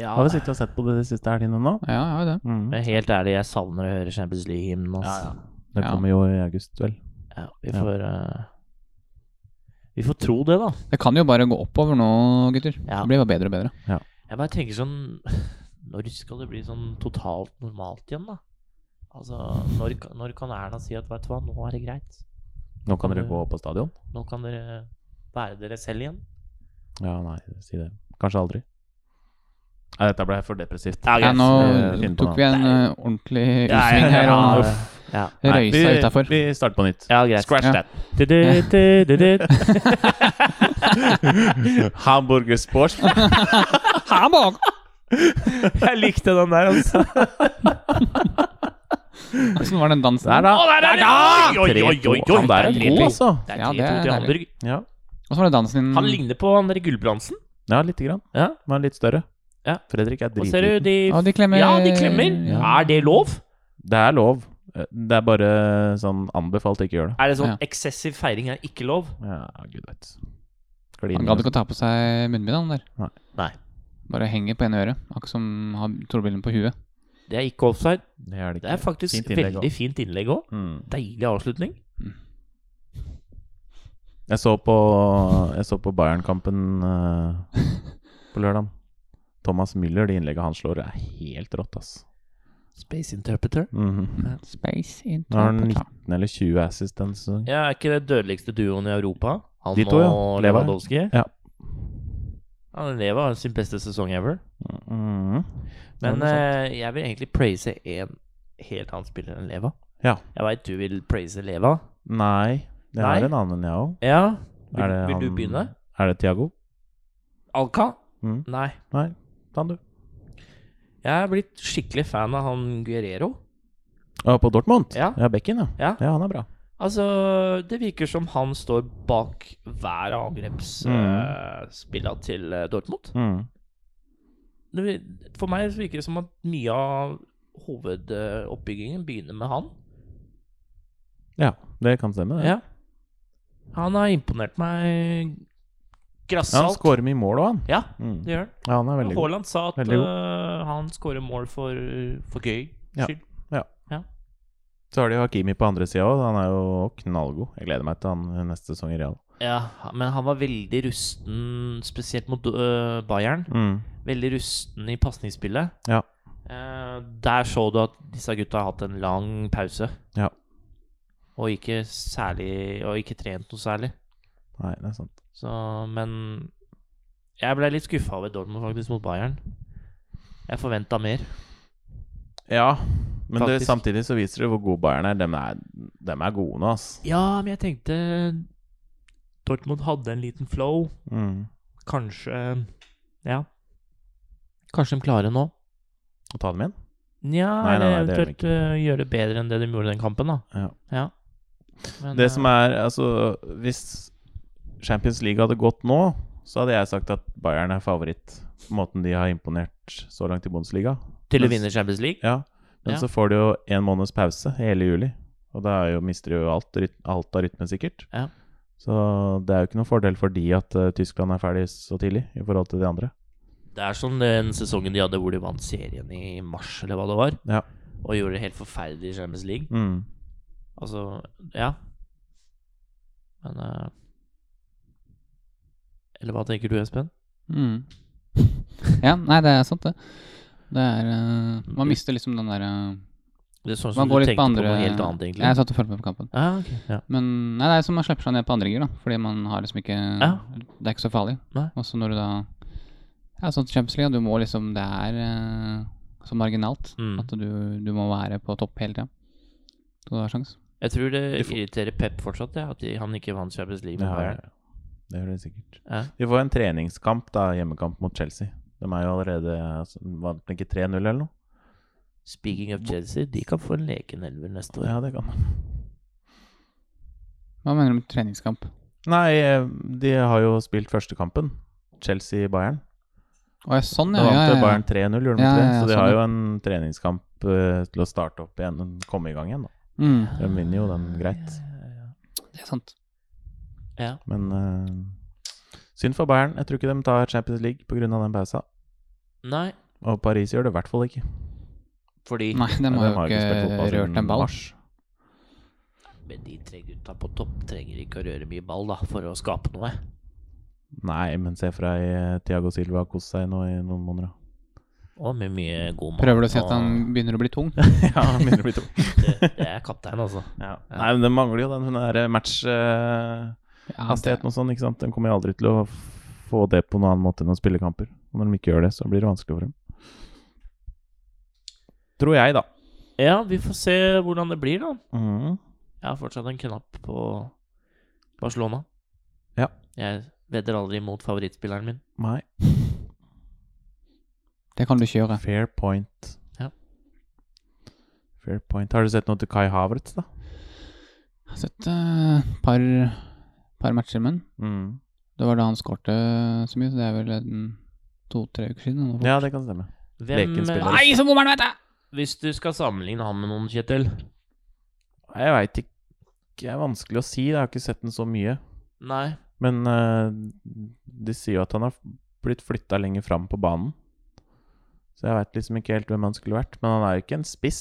B: ja.
C: Har vi sittet og sett på det de siste helgene nå?
A: Ja, jeg har jo det.
C: Mm.
B: Men helt ærlig, jeg savner å høre Champions League-hymnen. ass.
C: Ja, Det
A: Ja.
C: kommer jo i august, vel.
B: Ja, vi får eh, Vi får tro det, da.
A: Det kan jo bare gå oppover nå, gutter.
B: Ja.
A: Det blir bare bedre og bedre.
B: Jeg bare tenker sånn Når skal det bli sånn totalt normalt igjen, da? Altså, når, kan- når kan Erna si at vet du hva, nå er det greit?
C: Nå kan dere gå på stadion.
B: Nå kan dere være dere selv igjen?
C: Ja, nei, si det. Kanskje aldri. Nei, dette ble for depressivt.
A: Ja, nå
C: Eh, fint på
A: tok vi en eh, ordentlig
B: Ja,
A: U-sving her
B: ja,
A: og
B: ja.
C: Nei,
A: røysa
C: vi-
A: utafor.
C: Vi starter på nytt.
B: Ja, greit.
C: Scratch
A: Ja.
C: that.
B: Du, du, du, du, du.
C: Hamburger sports.
A: Åssen
B: Jeg likte den der, altså.
A: var den dansen?
C: Der, da.
B: der er det! Oi, oi, oi, oi, oi.
C: Han der er
B: Det er
C: god,
B: tre-
C: altså.
B: Det er
A: Ja,
B: 3-2
A: det er
B: til
A: deilig.
B: Hamburg.
C: Ja,
A: Åssen var det dansen din?
B: Han ligner på han der Gulbrandsen.
C: ja lite grann.
B: Ja.
C: Men litt større.
B: Ja.
C: Fredrik er
B: Og ser du
C: dritliten.
B: de
A: Ja, de klemmer.
B: Ja, de klemmer.
A: Ja.
B: Er det lov?
C: Det er lov. Eh, Det er bare sånn anbefalt å ikke gjøre det.
B: Er det sånn
A: Ja.
B: eksessiv feiring er ikke lov?
C: Ja, gud vet.
A: Han gadd ikke å ta på seg munnbind, han der.
B: Nei.
A: Bare henger på ene øret. Akkurat som har torbillen på huet.
B: Det er ikke offside.
C: Det er det
B: Det er
C: ikke.
B: faktisk
C: Fint innlegg
B: veldig
C: også.
B: fint innlegg òg.
C: Mm.
B: Deilig avslutning.
C: Jeg så på, jeg så på Bayern-kampen eh, på lørdag. Thomas Müller, det innlegget han slår, er helt rått, ass.
B: Space Interpreter.
C: Mhm.
A: Space
C: Nå har han 19 eller 20 assist denne sesongen.
B: Ja, Er ikke det dødeligste duoen i Europa? Han
C: De to, ja.
B: og
C: Leva.
B: Lewandowski?
C: Ja.
B: Han Leva har sin beste sesong ever.
C: Mhm.
B: Men
C: Ja, det er
B: eh, jeg vil egentlig praise en helt annen spiller enn Leva.
C: Ja.
B: Jeg veit du vil praise Leva.
C: Nei, jeg har
B: eh, Nei.
C: en annen enn jeg òg.
B: Ja. Vil, vil du begynne?
C: Er det Tiago?
B: Alka?
C: Mm.
B: Nei.
C: Nei, ta han du.
B: Jeg er blitt skikkelig fan av han Guerrero.
C: Ja, på Dortmund?
B: Ja.
C: ja Bekken, ja.
B: Ja.
C: Ja, han er bra.
B: Altså, det virker som han står bak hver
C: Mm.
B: angrepsspilla til eh, Dortmund.
C: Mm.
B: Det, vir- for meg så virker det som at mye av hovedoppbyggingen begynner med han.
C: Ja, det kan stemme, det.
B: Ja. Han har imponert meg
C: Ja, han
B: grassat.
C: skårer mye mål òg, han.
B: Ja,
C: Mm.
B: det gjør han.
C: Ja, han er veldig god.
B: Haaland sa at
C: Veldig god.
B: eh, han skårer mål for, for gøy
C: Ja.
B: skyld.
C: Så har de jo Hakimi på andre sida òg. Han er jo knallgod. Jeg gleder meg til han neste sesong i Real.
B: Ja, men han var veldig rusten, spesielt mot eh, Bayern.
C: Mm.
B: veldig rusten i pasningsspillet.
C: Ja.
B: Eh, der så du at disse gutta har hatt en lang pause.
C: Ja.
B: Og ikke særlig Og ikke trent noe særlig.
C: Nei, det er sant.
B: Så, men jeg ble litt skuffa over Dortmund faktisk mot Bayern. Jeg forventa mer.
C: Ja, men det,
B: Faktisk.
C: samtidig så viser det hvor god Bayern er. Dem er, dem er gode nå, ass.
B: Ja, men jeg tenkte Dortmund hadde en liten flow.
C: Mm.
B: Kanskje Ja. Kanskje de klarer nå.
C: Og ta dem igjen.
B: Nja,
C: Nei, nei, nei,
B: eller
C: det gjør de
B: eventuelt eh, gjøre det bedre enn det de gjorde den kampen, da.
C: Ja.
B: Ja. Men,
C: Det
B: eh,
C: som er, altså Hvis Champions League hadde gått nå, så hadde jeg sagt at Bayern er favoritt. På måten de har imponert så langt i Bundesliga.
B: Til å
C: Mens-
B: vinne Champions League?
C: Ja, men
B: Ja.
C: så får du jo en måneds pause i hele juli. Og da er jo, mister du jo alt, ryt- alt av rytme, sikkert.
B: Ja.
C: Så det er jo ikke noen fordel for de at eh, Tyskland er ferdig så tidlig i forhold til de andre.
B: Det er som den sesongen de hadde hvor de vant serien i mars, eller hva det var.
C: Ja.
B: Og gjorde det helt forferdelig i Champions League.
C: Mm.
B: Altså, ja. Men eh, Eller hva tenker du, Espen?
A: Mm. Ja, nei, det er sant, det. Det er eh, Man mister liksom den derre
B: Det er sånn
A: Man
B: som du
A: går litt
B: tenkte
A: på andre
B: på noe helt annet, egentlig.
A: Jeg satt og fulgte med på kampen.
B: Ja, ok. Ja.
A: Men nei, det er som man slipper seg ned på andre gir, da. Fordi man har liksom ikke
B: Ja.
A: Det er ikke så farlig.
B: Nei.
A: Og så når du da Ja, sånn Champions League, du må liksom Det er eh, så marginalt
B: Mm.
A: at du, du må være på topp hele tida. Så du har sjans.
B: Jeg tror det
C: De får-
B: irriterer Pep fortsatt, ja, at de- han ikke vant Champions League.
C: Det
B: med
C: har
B: Bayern.
C: jeg. Det gjør det sikkert.
B: Ja.
C: De får en treningskamp, da, hjemmekamp mot Chelsea. De er jo allerede altså, Vant de ikke 3-0 eller noe?
B: Speaking of Chelsea, de kan få en leken elver neste år.
C: Ja, det kan de.
A: Hva mener du om treningskamp?
C: Nei, eh, de har jo spilt første kampen. Chelsea-Bayern.
A: Å ja, sånn,
C: Da
A: ja. ja,
C: vant jo
A: ja, ja.
C: Bayern 3-0, gjorde de
A: Ja,
C: ikke det?
A: ja, ja,
C: Så de
A: sånn,
C: har
A: ja.
C: jo en treningskamp eh, til å starte opp igjen, komme i gang igjen. da.
A: Mm,
C: De vinner jo den greit.
A: det er sant.
C: Men eh, synd for Bayern. Jeg tror ikke de tar Champions League pga. den pausa.
B: Nei,
C: Og Paris gjør det i hvert fall ikke.
B: fordi
A: Nei, de
C: Ja,
A: har
C: de
A: jo ikke rørt en ball.
C: mars.
B: Men de tre gutta på topp trenger ikke å røre mye ball da, for å skape noe.
C: Nei, men se for deg eh, Thiago Silva har kost seg nå i noen måneder. da.
B: Og med mye god mat.
A: Prøver du å si at
B: og-
A: han begynner å bli tung?
C: ja, han begynner å bli tung.
B: det, det er kaptein, altså.
C: Ja. Nei, men de mangler jo den eh, derre matchhastigheten
A: Ja, det,
C: og sånn, ikke sant. De kommer jo aldri til å få det på noen annen måte enn å spille kamper. Og når de ikke gjør det, så blir det vanskelig for dem. Tror jeg, da.
B: Ja, vi får se hvordan det blir, da.
C: Mhm.
B: Jeg har fortsatt en knapp på Barcelona.
C: Ja.
B: Jeg vedder aldri mot favorittspilleren min.
C: Nei,
A: det kan du ikke gjøre.
C: fair point.
B: Ja.
C: Fair point. Har du sett noe til Kai Havertz, da?
A: Jeg har sett eh, par, par matcher med han.
C: Mm.
A: Det var da han skårte så mye, så det er vel en to-tre uker siden. eller noe.
C: Ja, det kan stemme.
B: Hvem,
C: Leken spiller.
A: Nei, så bommeren, vet jeg!
B: hvis du skal sammenligne han med noen, Kjetil
C: Jeg veit ikke. Det er vanskelig å si. Jeg har ikke sett den så mye.
B: Nei.
C: Men eh, de sier jo at han har blitt flytta lenger fram på banen. Så jeg veit liksom ikke helt hvem han skulle vært. Men han er jo ikke en spiss.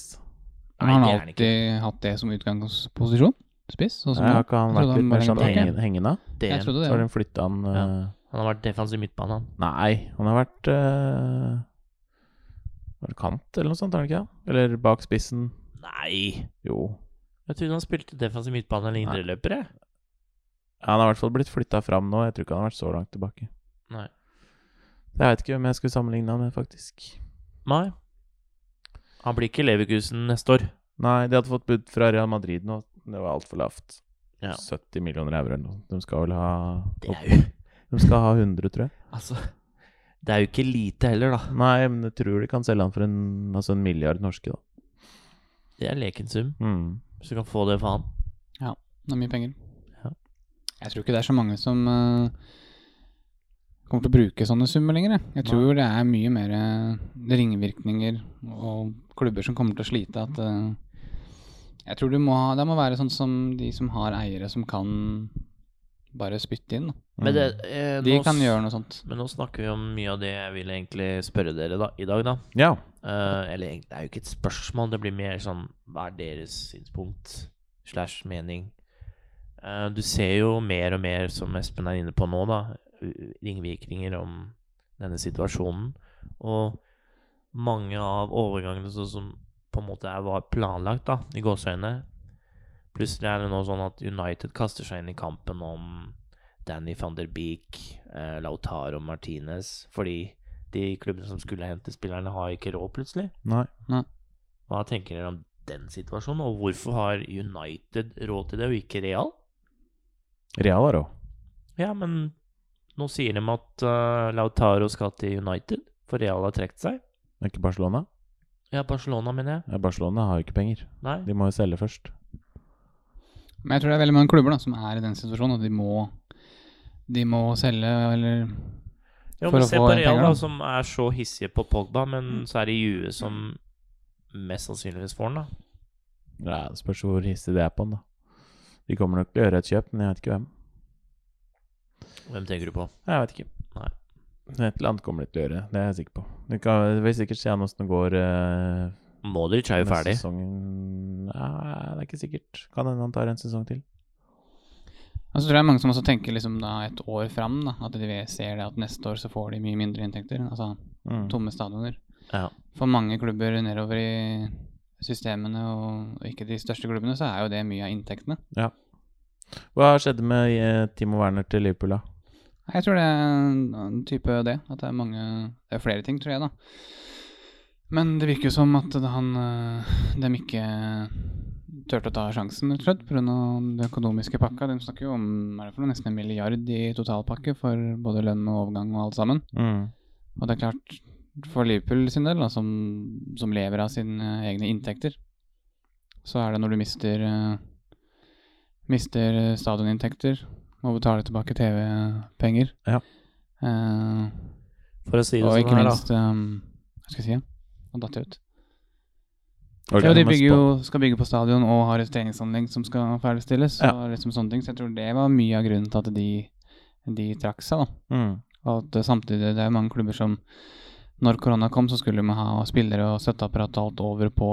A: Men han
B: det
A: har
B: er han ikke.
A: alltid hatt det som utgangsposisjon. Spiss, sånn som
C: Jeg har
A: jeg.
C: ikke han
A: trodde
C: vært
A: han
C: litt
A: var
C: mer sånn
A: lenger bak,
C: henge- hengende?
B: Det,
A: Jeg trodde
C: Så
A: det.
C: har
A: ja.
C: de flytta han eh,
B: han har vært defensiv midtbane, han.
C: Nei, han har vært eh, Var det kant eller noe sånt, har han ikke det? Eller bak spissen.
B: Nei!
C: Jo.
B: Jeg trodde han spilte defensiv midtbane eller
C: Nei.
B: indreløper, jeg.
C: Ja, Han har i hvert fall blitt flytta fram nå. Jeg tror ikke han har vært så langt tilbake.
B: Nei.
C: Så Jeg veit ikke hvem jeg skulle sammenligne han med, faktisk.
B: Nei. Han blir ikke Leverkusen neste år.
C: Nei, de hadde fått bud fra Real Madrid nå. Det var altfor lavt.
B: Ja.
C: 70 millioner euro eller noe. De skal vel ha
B: Det er jo
C: De skal ha 100, tror jeg.
B: Altså Det er jo ikke lite heller, da.
C: Nei, men jeg tror de kan selge han for en, altså en milliard norske, da.
B: Det er leken sum,
C: Mm.
B: hvis du kan få det for han.
A: Det er mye penger.
B: Ja.
A: Jeg tror ikke det er så mange som eh, kommer til å bruke sånne summer lenger. jeg. Jeg tror det er mye mer eh, ringvirkninger og klubber som kommer til å slite. At, eh, jeg tror du må ha, det må være sånn som de som har eiere som kan bare spytte inn. Da.
B: Men det,
C: Mm.
B: eh,
A: De
B: nå s-
A: kan gjøre noe sånt.
B: Men nå snakker vi om mye av det jeg ville egentlig spørre dere da, i dag, da.
C: Ja.
B: Eh, eller egentlig, det er jo ikke et spørsmål, det blir mer sånn hva er deres synspunkt slash mening? Eh, du ser jo mer og mer, som Espen er inne på nå, da, u- ringvirkninger om denne situasjonen. Og mange av overgangene sånn som på en måte er, var planlagt, da, i gåseøynene Plutselig er det nå sånn at United kaster seg inn i kampen om Danny van der Beek, eh, Lautaro Martinez, fordi de klubbene som skulle hente spillerne, har ikke råd plutselig.
C: Nei.
B: Hva tenker dere om den situasjonen, og hvorfor har United råd til det, og ikke Real?
C: Real har òg.
B: Ja, men nå sier de at eh, Lautaro skal til United, for Real har trukket seg.
C: Det er ikke Barcelona.
B: Ja, Barcelona, mener jeg.
C: Ja, Barcelona har jo ikke penger.
B: Nei?
C: De må jo selge først.
A: Men jeg tror det er veldig mange klubber da, som er i den situasjonen, og de må, de må selge eller
B: Jo,
A: For
B: men
A: å
B: se
A: få
B: på
A: inn
B: Real,
A: penger,
B: da,
A: da.
B: som er så hissige på Pogba, men så er det Juve som mest sannsynligvis får den, da.
C: Ja, det Spørs hvor hissig det er på han, da. De kommer nok til å gjøre et kjøp, men jeg vet ikke hvem.
B: Hvem tenker du på?
C: Jeg vet ikke.
B: Nei.
C: Et eller annet kommer de til å gjøre, det er jeg sikker på. De kan, det vil sikkert se an åssen det går eh,
B: Modric er jo
C: Neste
B: ferdig.
C: Sesongen Nei, det er ikke sikkert. Kan hende han tar en sesong til.
A: Og så tror jeg mange som også tenker liksom da et år fram, da, at de ser det at neste år så får de mye mindre inntekter. Altså tomme stadioner.
B: Ja.
A: For mange klubber nedover i systemene, og og ikke de største klubbene, så er jo det mye av inntektene.
C: Hva skjedde med eh, Timo Werner til Liverpool, da?
A: Nei, Jeg tror det er en type det, at det er mange Det er flere ting, tror jeg, da. Men det virker jo som at han øh, dem ikke eh, turte å ta sjansen, rett og slett, pga. den økonomiske pakka. De snakker jo om er det for noe, nesten en milliard i totalpakke for både lønn og overgang og alt sammen.
C: Mm.
A: Og det er klart, for Liverpool sin del, da, som, som lever av sine egne inntekter, så er det når du mister eh, Mister eh, stadioninntekter og betaler tilbake TV-penger.
C: Ja.
A: Eh,
E: For å si det
A: og
E: sånn
A: ikke
E: her,
A: minst um, Hva skal jeg si? ja? Nå datt jeg ut.
C: Ok,
A: Ja, de
C: men
A: bygger
C: spa-
A: jo, skal bygge på stadion og har et treningsanlegg som skal ferdigstilles.
C: Ja.
A: Og liksom sånne ting. Så jeg tror det var mye av grunnen til at de, de trakk seg. da.
C: Mm.
A: Og at det samtidig det er mange klubber som Når korona kom, så skulle man ha spillere og støtteapparat og alt over på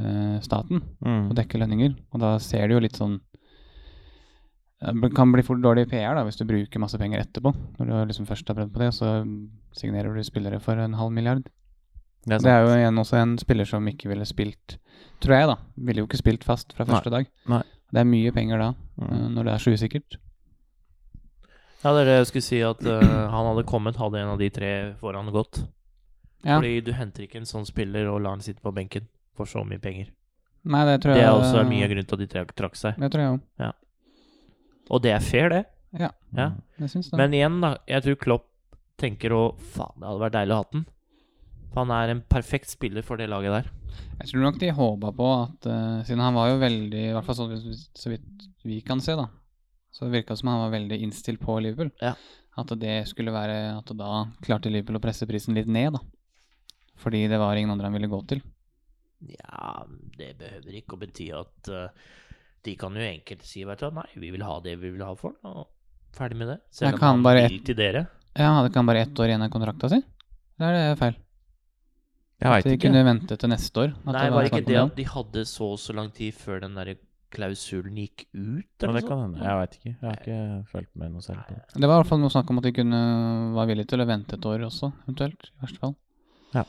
A: eh, staten
C: Mm.
A: og dekke lønninger. Og da ser du jo litt sånn Det kan bli fort dårlig PR da hvis du bruker masse penger etterpå. Når du liksom først har prøvd på det, så signerer du spillere for en halv milliard.
C: Det er
A: Det er
C: sant.
A: jo igjen også en spiller som ikke ville spilt Tror jeg, da. Ville jo ikke spilt fast fra første dag.
C: Nei.
A: Det er mye penger da,
C: Mm.
A: eh, når det er så usikkert.
B: Ja, det er det jeg skulle si, at eh, han hadde kommet, hadde en av de tre foran gått.
A: Ja.
B: Fordi du henter ikke en sånn spiller og lar han sitte på benken for så mye penger.
A: Nei, det tror
B: Det
A: jeg
B: er også mye av grunnen til at de tre trakk seg.
A: Det tror jeg òg.
B: Og det er fair, det.
A: Ja.
B: ja.
A: Jeg syns det.
B: Men igjen, da. Jeg tror Klopp tenker å Faen, det hadde vært deilig å ha den. For han er en perfekt spiller for det laget der.
A: Jeg tror nok de håpa på at eh, Siden han var jo veldig, i hvert fall sånn hvis- så vidt vi kan se, da, så virka det som han var veldig innstilt på Liverpool.
B: Ja.
A: At det skulle være At da klarte Liverpool å presse prisen litt ned, da. Fordi det var ingen andre han ville gå til.
B: Ja, det behøver ikke å bety at eh, de kan jo enkelt si vet du, hva, nei, vi vil ha det vi vil ha for den, og ferdig med det.
A: Jeg
B: Selv om
A: kan
B: han
A: bare
B: vil til dere.
A: Ja, Hadde ikke han bare ett år igjen av kontrakta si? Eller er det feil?
C: Jeg
A: At
C: veit
A: de
C: ikke.
A: kunne vente til neste år? at
B: Nei,
A: det
B: var ikke
A: snakk om
B: det at de hadde så og så lang tid før den der klausulen gikk ut,
C: Men
B: eller
C: det
B: noe
C: kan
B: sånt?
C: hende. Jeg veit ikke. Jeg har ikke fulgt med noe særlig på det.
A: Det var i hvert fall noe snakk om at de kunne var villige til å vente et år også, eventuelt. I verste fall.
C: Ja.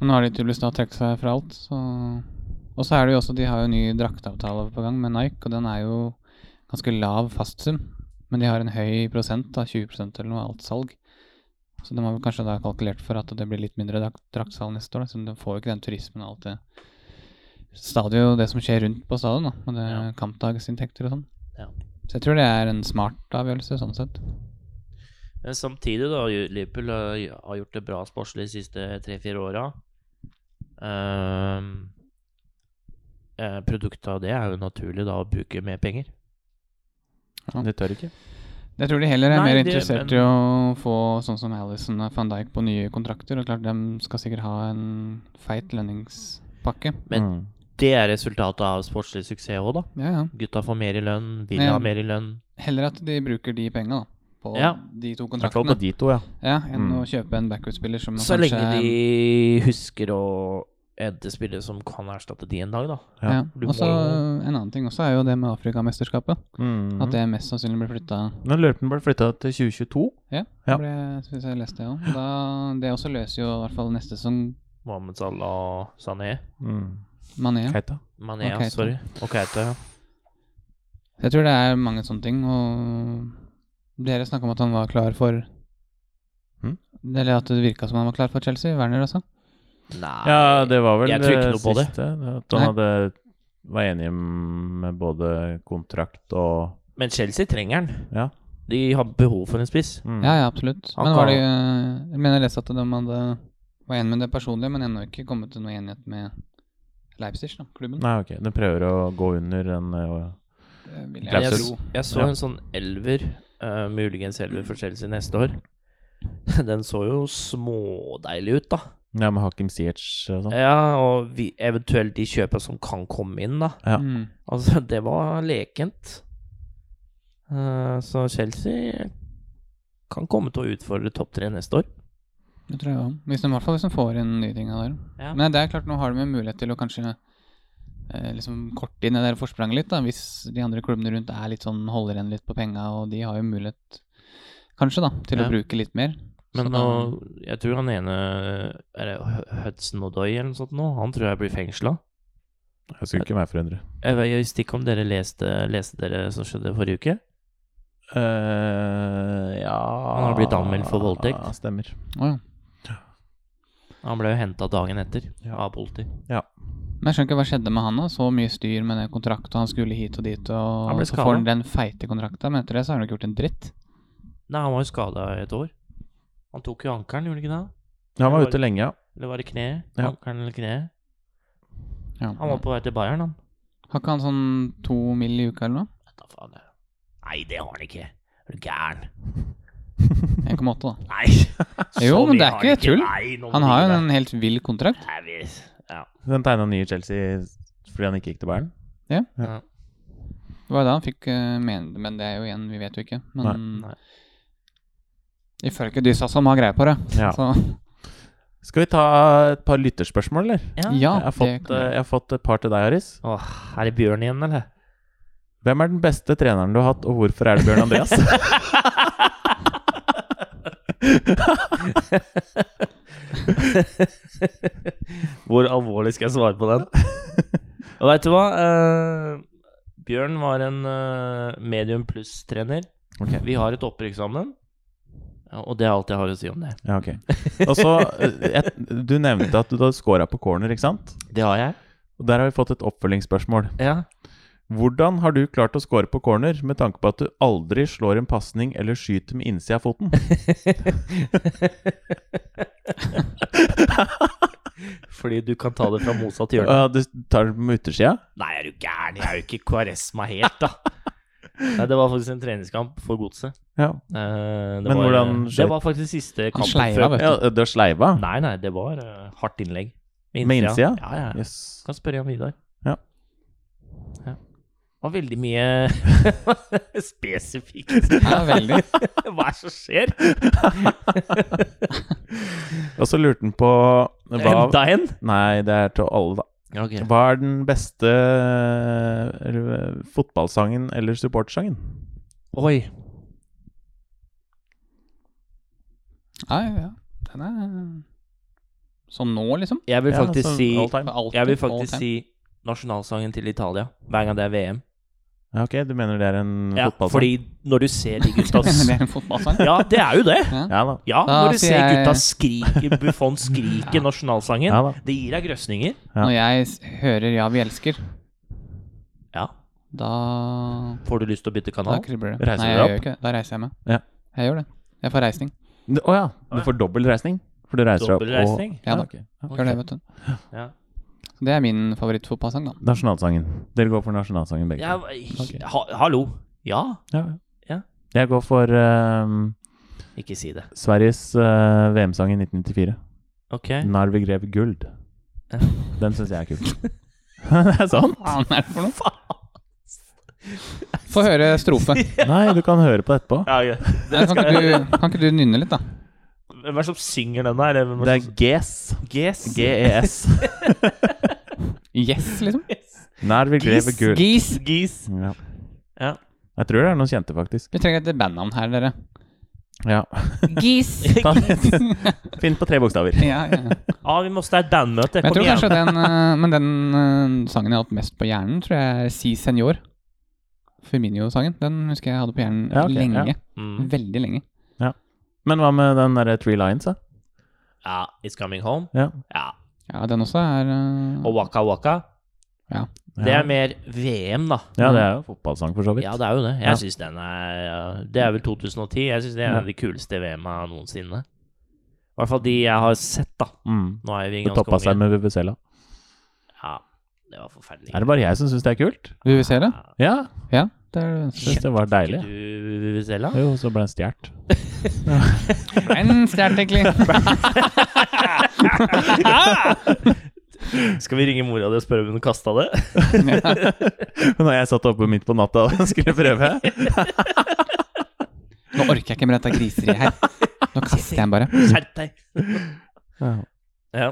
A: Men nå har de tydeligvis da trukket seg fra alt, så Og så er det jo også De har jo ny drakteavtale på gang med Nike, og den er jo ganske lav fastsum. Men de har en høy prosent, da, 20 eller noe, av alt salg. Så de har vel kanskje da kalkulert for at det blir litt mindre drak draktsalg neste år, da, siden de får jo ikke den turismen og alt det stadion og det som skjer rundt på stadion, da, med det
B: Ja.
A: kampdagsinntekter og sånn.
B: Ja.
A: Så jeg tror det er en smart avgjørelse, sånn sett.
B: Men samtidig, da, Liverpool eh, har gjort det bra sportslig de siste tre-fire åra. Um, eh, produktet av det er jo naturlig da å bruke mer penger.
A: Ja.
C: De tør ikke.
A: Jeg tror de heller er
B: Nei,
A: mer
B: det-
A: interessert
B: men-
A: i å få sånn som Alison og van Dijk på nye kontrakter. Og klart, de skal sikkert ha en feit lønningspakke.
B: Men-
C: Mm.
B: Det er resultatet av sportslig suksess òg, da.
A: Ja, ja.
B: Gutta får mer i lønn, vil
A: Ja.
B: ha mer i lønn.
A: Heller at de bruker de penga, da. På
B: Ja.
A: de to
C: I hvert fall på
A: kontraktene.
C: de to, ja.
A: Ja, enn
C: Mm.
A: å kjøpe en backwood-spiller som
B: Så
A: kanskje
B: lenge de husker å hente spillere som kan erstatte de en dag, da.
A: ja.
B: du
A: Og så
B: må
A: en annen ting også er jo det med Afrikamesterskapet.
C: Mm.
A: At det mest sannsynlig blir flytta
C: Nå lurer på om den ble flytta til 2022. Ja.
A: ja. Hvis jeg leste det òg. Da- Det også løser jo i hvert fall neste sesong
B: Mohammed Salah Sané.
C: Mm.
A: Mané.
C: Keita.
B: Mané,
A: Og Keita.
B: sorry. Og Keita, ja.
A: Så Jeg tror det er mange sånne ting, og dere snakka om at han var klar for
C: Hm?
A: Eller at det virka som han var klar for Chelsea. Werner også.
B: Nei
C: Ja, det var vel
B: jeg tror
C: det
B: ikke noe på det.
C: siste. At han hadde, var enig med både kontrakt og
B: Men Chelsea trenger han.
C: Ja.
B: De har behov for en spiss.
C: mm.
A: Ja, ja, absolutt.
C: Han
A: Men var
C: kan-
A: det eh, Jeg mener jeg leste at de hadde var enig med det personlige, men ennå ikke kommet til noen enighet med Leipzig, da, klubben.
C: Nei, ok. Den prøver å gå under en eh,
A: Det vil
B: Jeg,
A: jeg
C: Leipzig.
A: tro.
B: så- jeg så
C: Ja.
B: en sånn elver, eh, muligens elver for Chelsea neste år. Den så jo smådeilig ut, da.
C: Ja, med Hakim Ziyech og sånn.
B: Ja, og vi, eventuelt de kjøpene som kan komme inn, da.
C: Ja.
A: Mm.
B: Altså, det var lekent. Eh, så Chelsea kan komme til å utfordre topp tre neste år.
A: Det tror jeg også. Hvis de, I hvert fall hvis de får inn nye ting av der.
B: Ja.
A: Men det er klart, nå har de jo mulighet til å kanskje eh, liksom korte inn det der forspranget litt, da, hvis de andre klubbene rundt er litt sånn holder igjen litt på penga, og de har jo mulighet, kanskje, da, til
B: Ja.
A: å bruke litt mer. Så
B: Men
A: da-
B: nå, jeg tror han ene Er det Hu- Hudson Odoi eller noe sånt nå? Han tror jeg blir fengsla.
C: Jeg skulle ikke være forundret.
B: Jeg vet ikke om dere leste, leste dere som skjedde forrige uke?
C: Eh, ja
B: Han har blitt anmeldt for voldtekt.
C: Ja, stemmer.
A: Å ja.
B: Han ble jo henta dagen etter
C: Ja.
B: av politi.
A: Men jeg skjønner ikke hva skjedde med han. da Så mye styr med den kontrakten, og han skulle hit og dit. Og
B: Han ble
A: så
B: skadet.
A: får han den feite kontrakten, men etter det så har han jo ikke gjort en dritt.
B: Nei, han var jo skada et år. Han tok jo ankelen, gjorde han ikke det?
C: Han var ute lenge, ja.
B: Eller var det kneet?
C: Ja.
B: Ankelen eller kneet?
A: Ja.
B: Han var på vei til Bayern, han.
A: Har ikke han sånn to mil i uka eller noe?
B: Vet da faen, jeg. Nei, det har han ikke. Er du gæren?
A: 1,8, da.
B: Nei.
A: Jo,
B: Så
A: men
B: mye
A: det er
B: har
A: ikke
B: han
A: tull.
B: Nei, nå må
A: Han
B: du
A: har jo
B: gi deg.
A: en helt vill kontrakt.
B: Nei, vi- Ja.
C: Den tegna ny i Chelsea fordi han ikke gikk til Bayern.
A: Det var jo da han fikk eh, men, men det er jo igjen, vi vet jo ikke. Men
B: Nei.
A: ifølge Dysa som har greie på det.
C: Ja.
A: Så
C: Skal vi ta et par lytterspørsmål, eller?
A: ja,
C: jeg, har fått,
A: det,
C: eh, jeg har fått et par til deg, Aris.
B: Åh, er det Bjørn igjen, eller?
C: Hvem er den beste treneren du har hatt, og hvorfor er det Bjørn Andreas?
B: Hvor alvorlig skal jeg svare på den? Og vet du hva? Eh, Bjørn var en eh, medium pluss-trener.
C: Ok.
B: Vi har et opprykk sammen, ja, og det er alt jeg har å si om det.
C: Ja, ok. Og så, eh, et- Du nevnte at du da scora på corner, ikke sant?
B: Det har jeg.
C: Og Der har vi fått et oppfølgingsspørsmål.
B: Ja.
C: Hvordan har du klart å score på corner med tanke på at du aldri slår en pasning eller skyter med innsida av foten?
B: Fordi du kan ta det fra motsatt hjørne.
C: Ja, du tar den med yttersida?
B: Nei, er du gæren? Jeg er jo ikke Kvaresma helt, da. Nei, det var faktisk en treningskamp for godset.
C: Ja.
B: Eh, det
C: Men
B: var-
C: hvordan skjøt-
B: Det var faktisk siste
A: han
B: kampen
A: sleiva, vet du.
C: ja du har sleiva?
B: Nei, nei, det var eh, hardt innlegg.
C: Med innsida?
B: Ja, ja. ja.
C: Yes.
B: Kan spørre Jan Vidar.
C: Ja.
B: Ja. Det var veldig mye spesifikt.
A: Ja, veldig.
B: Hva er det som skjer?
C: Og så lurte han på hva
B: Enda en?
C: Nei, det er til alle, da. Hva er den beste eh, fotballsangen eller supportersangen?
B: Oi.
A: Ja, ja, ja. Den er Sånn nå, liksom?
B: Jeg vil
C: Ja,
B: faktisk
C: sånn
B: si
C: all time.
A: For alltid,
B: Jeg vil
A: all
B: faktisk
A: time.
B: si nasjonalsangen til Italia hver gang det er VM.
C: Ja, ok, du mener det er en
B: Ja,
C: fotballsang?
B: fordi når du ser de gutta s-
A: Det er en fotballsang.
B: Ja, det er jo det!
C: Ja da.
B: Ja,
A: Da
B: når du
A: sier
B: ser
A: jeg-
B: gutta skrike, Buffon skrike nasjonalsangen.
C: Ja, da.
B: Det gir deg grøsninger.
C: Ja.
A: Når jeg s- hører 'Ja, vi elsker',
B: Ja.
A: da
B: Får du lyst til å bytte
A: Da
B: kanal?
A: kribler det. Nei,
C: Reiser du
A: jeg
C: deg
A: gjør
C: opp?
A: ikke det. Da reiser jeg meg.
C: Ja.
A: Jeg gjør det. Jeg får reisning.
C: N- Å ja. Du får dobbel reisning? For du reiser deg opp
B: Dobbelreisning?
A: Ja da.
C: ok. Ja.
A: Gjør det, vet du.
B: Ja.
A: Så det er min favorittfotballsang, da.
C: Nasjonalsangen. Dere går for nasjonalsangen, begge
B: Ja,
C: to. Ok.
B: ha, hallo. Ja.
C: Ja.
B: Ja.
C: Jeg går for ehm,
B: Ikke si det.
C: Sveriges eh, VM-sang i 1994.
B: Ok.
C: 'Når vi grev guld'.
B: Ja.
C: Den syns jeg er kul. det er sant?
A: Hva faen er det for noe? Få høre strofe.
C: Nei, du kan høre på det etterpå.
B: Ja, ok.
A: Nei, Kan ikke, du, kan ikke du nynne litt, da?
B: Hvem er det som synger den der? Hvem
C: Det
B: er
C: er GES.
A: E
B: Ges.
C: GES.
A: Yes, liksom?
C: Når vi grev
B: Gis.
C: guld.
A: Gis.
B: Gis.
C: Ja.
B: Ja.
C: Jeg tror det er noen kjente, faktisk.
A: Vi trenger et bandnavn her, dere.
C: Ja.
A: Gis.
C: Ta- Finn på tre bokstaver.
A: Ja, ja.
B: Ja, vi måste ha et bandmøte.
A: Men jeg
B: Kom
A: tror
B: igjen.
A: kanskje den eh, Men den eh, sangen jeg har hatt mest på hjernen, tror jeg er Si Senor. Firminio-sangen. Den husker jeg hadde på hjernen
C: Ja, ok,
A: lenge.
C: ja.
B: Mm.
A: Veldig lenge.
C: Men hva med den derre Three Lines, da?
B: Ja, It's Coming Home.
C: Ja.
B: Ja.
A: Ja, den også er eh,
B: Og Waka Waka.
A: Ja.
B: Det er mer VM, da.
C: Ja, det er jo fotballsang, for så vidt.
B: Mm. Ja, det er jo det.
C: Ja.
B: Jeg synes den er ja, Det er vel 2010. Jeg syns det er en av de kuleste VM-a noensinne. I hvert fall de jeg har sett, da.
C: Mm.
B: Nå er vi
C: Det
B: ganske
C: toppa seg
B: unge.
C: med Vuvuzela.
B: Ja, det var forferdelig.
C: Er det bare jeg som syns det er kult?
A: Du vil se det?
C: Ja,
A: Ja. Det er det
C: syns det var
B: Ikke
C: deilig.
B: du, Vuvuzela?
C: Jo, så ble den stjålet.
A: En stjerne, egentlig.
B: Skal vi ringe mora di og spørre om hun kasta det?
C: Når jeg satt oppe midt på natta og skulle prøve.
A: Nå orker jeg ikke med dette griseriet her. Nå kaster jeg den bare.
B: Skjerp deg!
C: Ja.
B: Ja.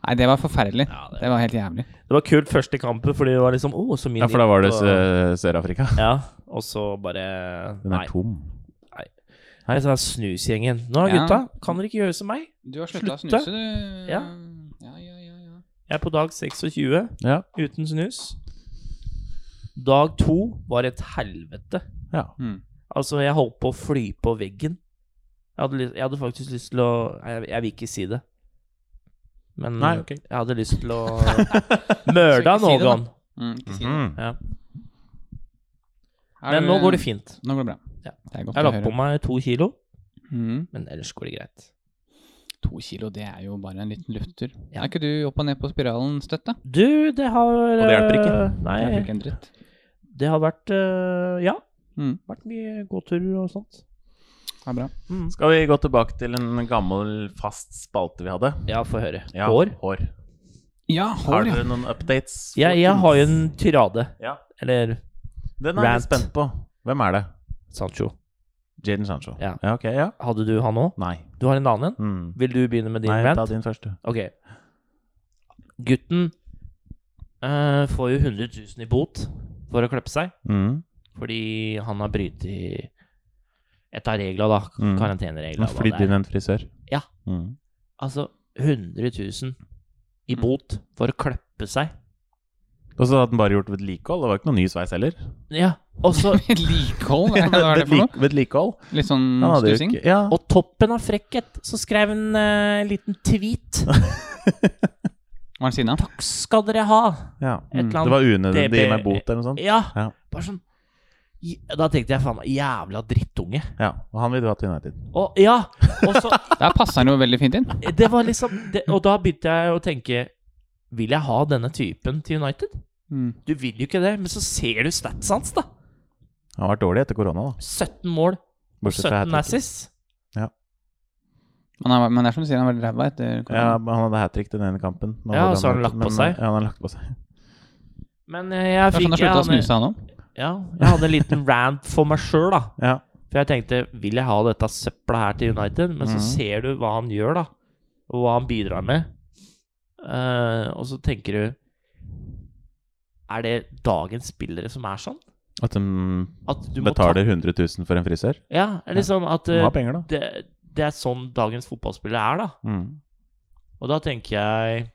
A: Nei, det var forferdelig.
B: ja det,
A: Det var helt jævlig.
B: det var kult første kampen, fordi det var liksom Å, så mye
C: ja, for da var det
B: nytt, og-
C: Sø- Sør-Afrika.
B: Ja, og så bare
C: Den
B: Nei.
C: er tom.
B: Nei, så er det snusgjengen. Nå,
A: Ja.
B: gutta, kan dere ikke gjøre som meg?
A: Du har slutta å
B: Slutte?
A: snuse, du.
B: Ja.
A: ja, ja, ja. ja.
B: Jeg er på dag 26
C: Ja.
B: uten snus. Dag to var et helvete.
C: ja.
A: Mm.
B: Altså, jeg holdt på å fly på veggen. Jeg hadde, lyst, jeg hadde faktisk lyst til å Nei, jeg, jeg vil ikke si det. Men
C: Nei, ok.
B: jeg hadde lyst til å
A: Så
B: mørda
A: ikke si det, da.
B: noen.
A: Mm, ikke si det.
C: Mhm.
B: Ja.
A: Er
B: Men
A: du-
B: nå går det fint.
A: Nå går det bra.
B: Ja.
A: Det er godt
F: Jeg har
A: å
F: lagt på
A: høre.
F: meg to kilo,
A: Mhm.
B: Men ellers går det greit.
A: To kilo, det er jo bare en liten lufttur.
B: Ja.
A: Er ikke du opp og ned på spiralen støtt, da?
B: Du, det har
F: og det hjelper ikke.
B: eh, Nei,
A: Det er jo ikke en dritt.
B: det har vært eh, Ja.
A: Mm.
B: Vært mye gåturer og sånt.
A: Det er bra.
C: Skal vi gå tilbake til en gammel, fast spalte vi hadde?
B: Ja, få høre.
C: Ja,
B: Hår?
C: hår.
A: Ja,
C: Har
A: hår, ja.
C: dere noen updates?
B: Jeg, jeg har jo en tirade.
C: Ja.
B: Eller
C: Den er jeg litt
B: rant.
C: spent på. Hvem er det?
B: Sancho.
C: Jaden Sancho.
B: Ja.
C: ja ok, ja.
B: Hadde du han òg?
C: Nei.
B: Du har en annen en?
C: Mm.
B: Vil du begynne med din
C: Nei, ta
B: rant?
C: din første.
B: Ok. Gutten eh, får jo 100 000 i bot for å klippe seg.
C: Mm.
B: Fordi han har brytt i et av reglene, da.
C: Mm.
B: Karantenereglene.
C: Han
B: hva det
C: flydde
B: er.
C: inn en frisør.
B: Ja.
C: Mm.
B: Altså 100 000 i
A: Mm.
B: bot for å klippe seg.
C: Og så hadde han bare gjort vedlikehold. Det var ikke noe ny sveis heller.
B: Ja, og så
A: Vedlikehold, hva er det for noe?
C: Vedlik- Vedlikehold.
A: Litt sånn
C: Han hadde jo
A: stussing?
C: ikke Ja.
B: Og toppen av frekkhet, så skrev han eh, en liten tweet.
A: Hva er det siden av?
B: Takk skal dere ha!
C: ja.
B: Et eller
C: Mm, Det
B: annet
C: var unødvendig.
B: DB
C: Gi meg bot, eller noe sånt.
B: Ja.
C: Ja.
B: Bare sånn j- Da tenkte jeg faen jævla drittunge.
C: Ja. Og han ville du ha til United.
B: Og ja! Og så
A: Der passer han jo veldig fint inn.
B: Det var liksom det, Og da begynte jeg å tenke Vil jeg ha denne typen til United?
A: Mm.
B: Du vil jo ikke det, men så ser du statsa hans, da.
C: Han har vært dårlig etter korona, da.
B: 17 mål,
C: Bortsett fra
B: 17
C: hat-tricket.
B: assists.
A: Men, han, men det er som du sier, han er veldig ræva etter
C: Ja,
A: korona.
C: men han hadde hat trick den ene kampen. Nå
B: Ja,
C: hadde
B: så har han lagt på
C: men- eh,
B: seg.
C: Ja, han har lagt på seg.
B: Men eh, jeg
A: det er
B: fikk
A: sånn han slutta å
B: jeg hadde-
A: snuse, han òg.
B: Ja, jeg hadde en liten rant for meg sjøl, da.
C: Ja.
B: For jeg tenkte, vil jeg ha dette søpla her til United? Men så
C: Mhm.
B: ser du hva han gjør, da. Og hva han bidrar med. Eh, og så tenker du Er det dagens spillere som er sånn?
C: At de
B: At du må
C: betaler 100 000 for en frisør.
B: Ta, ja, det er liksom at
C: De
B: eh,
C: har penger, da.
B: det, det er sånn dagens fotballspillere er, da.
C: Mm.
B: Og da tenker jeg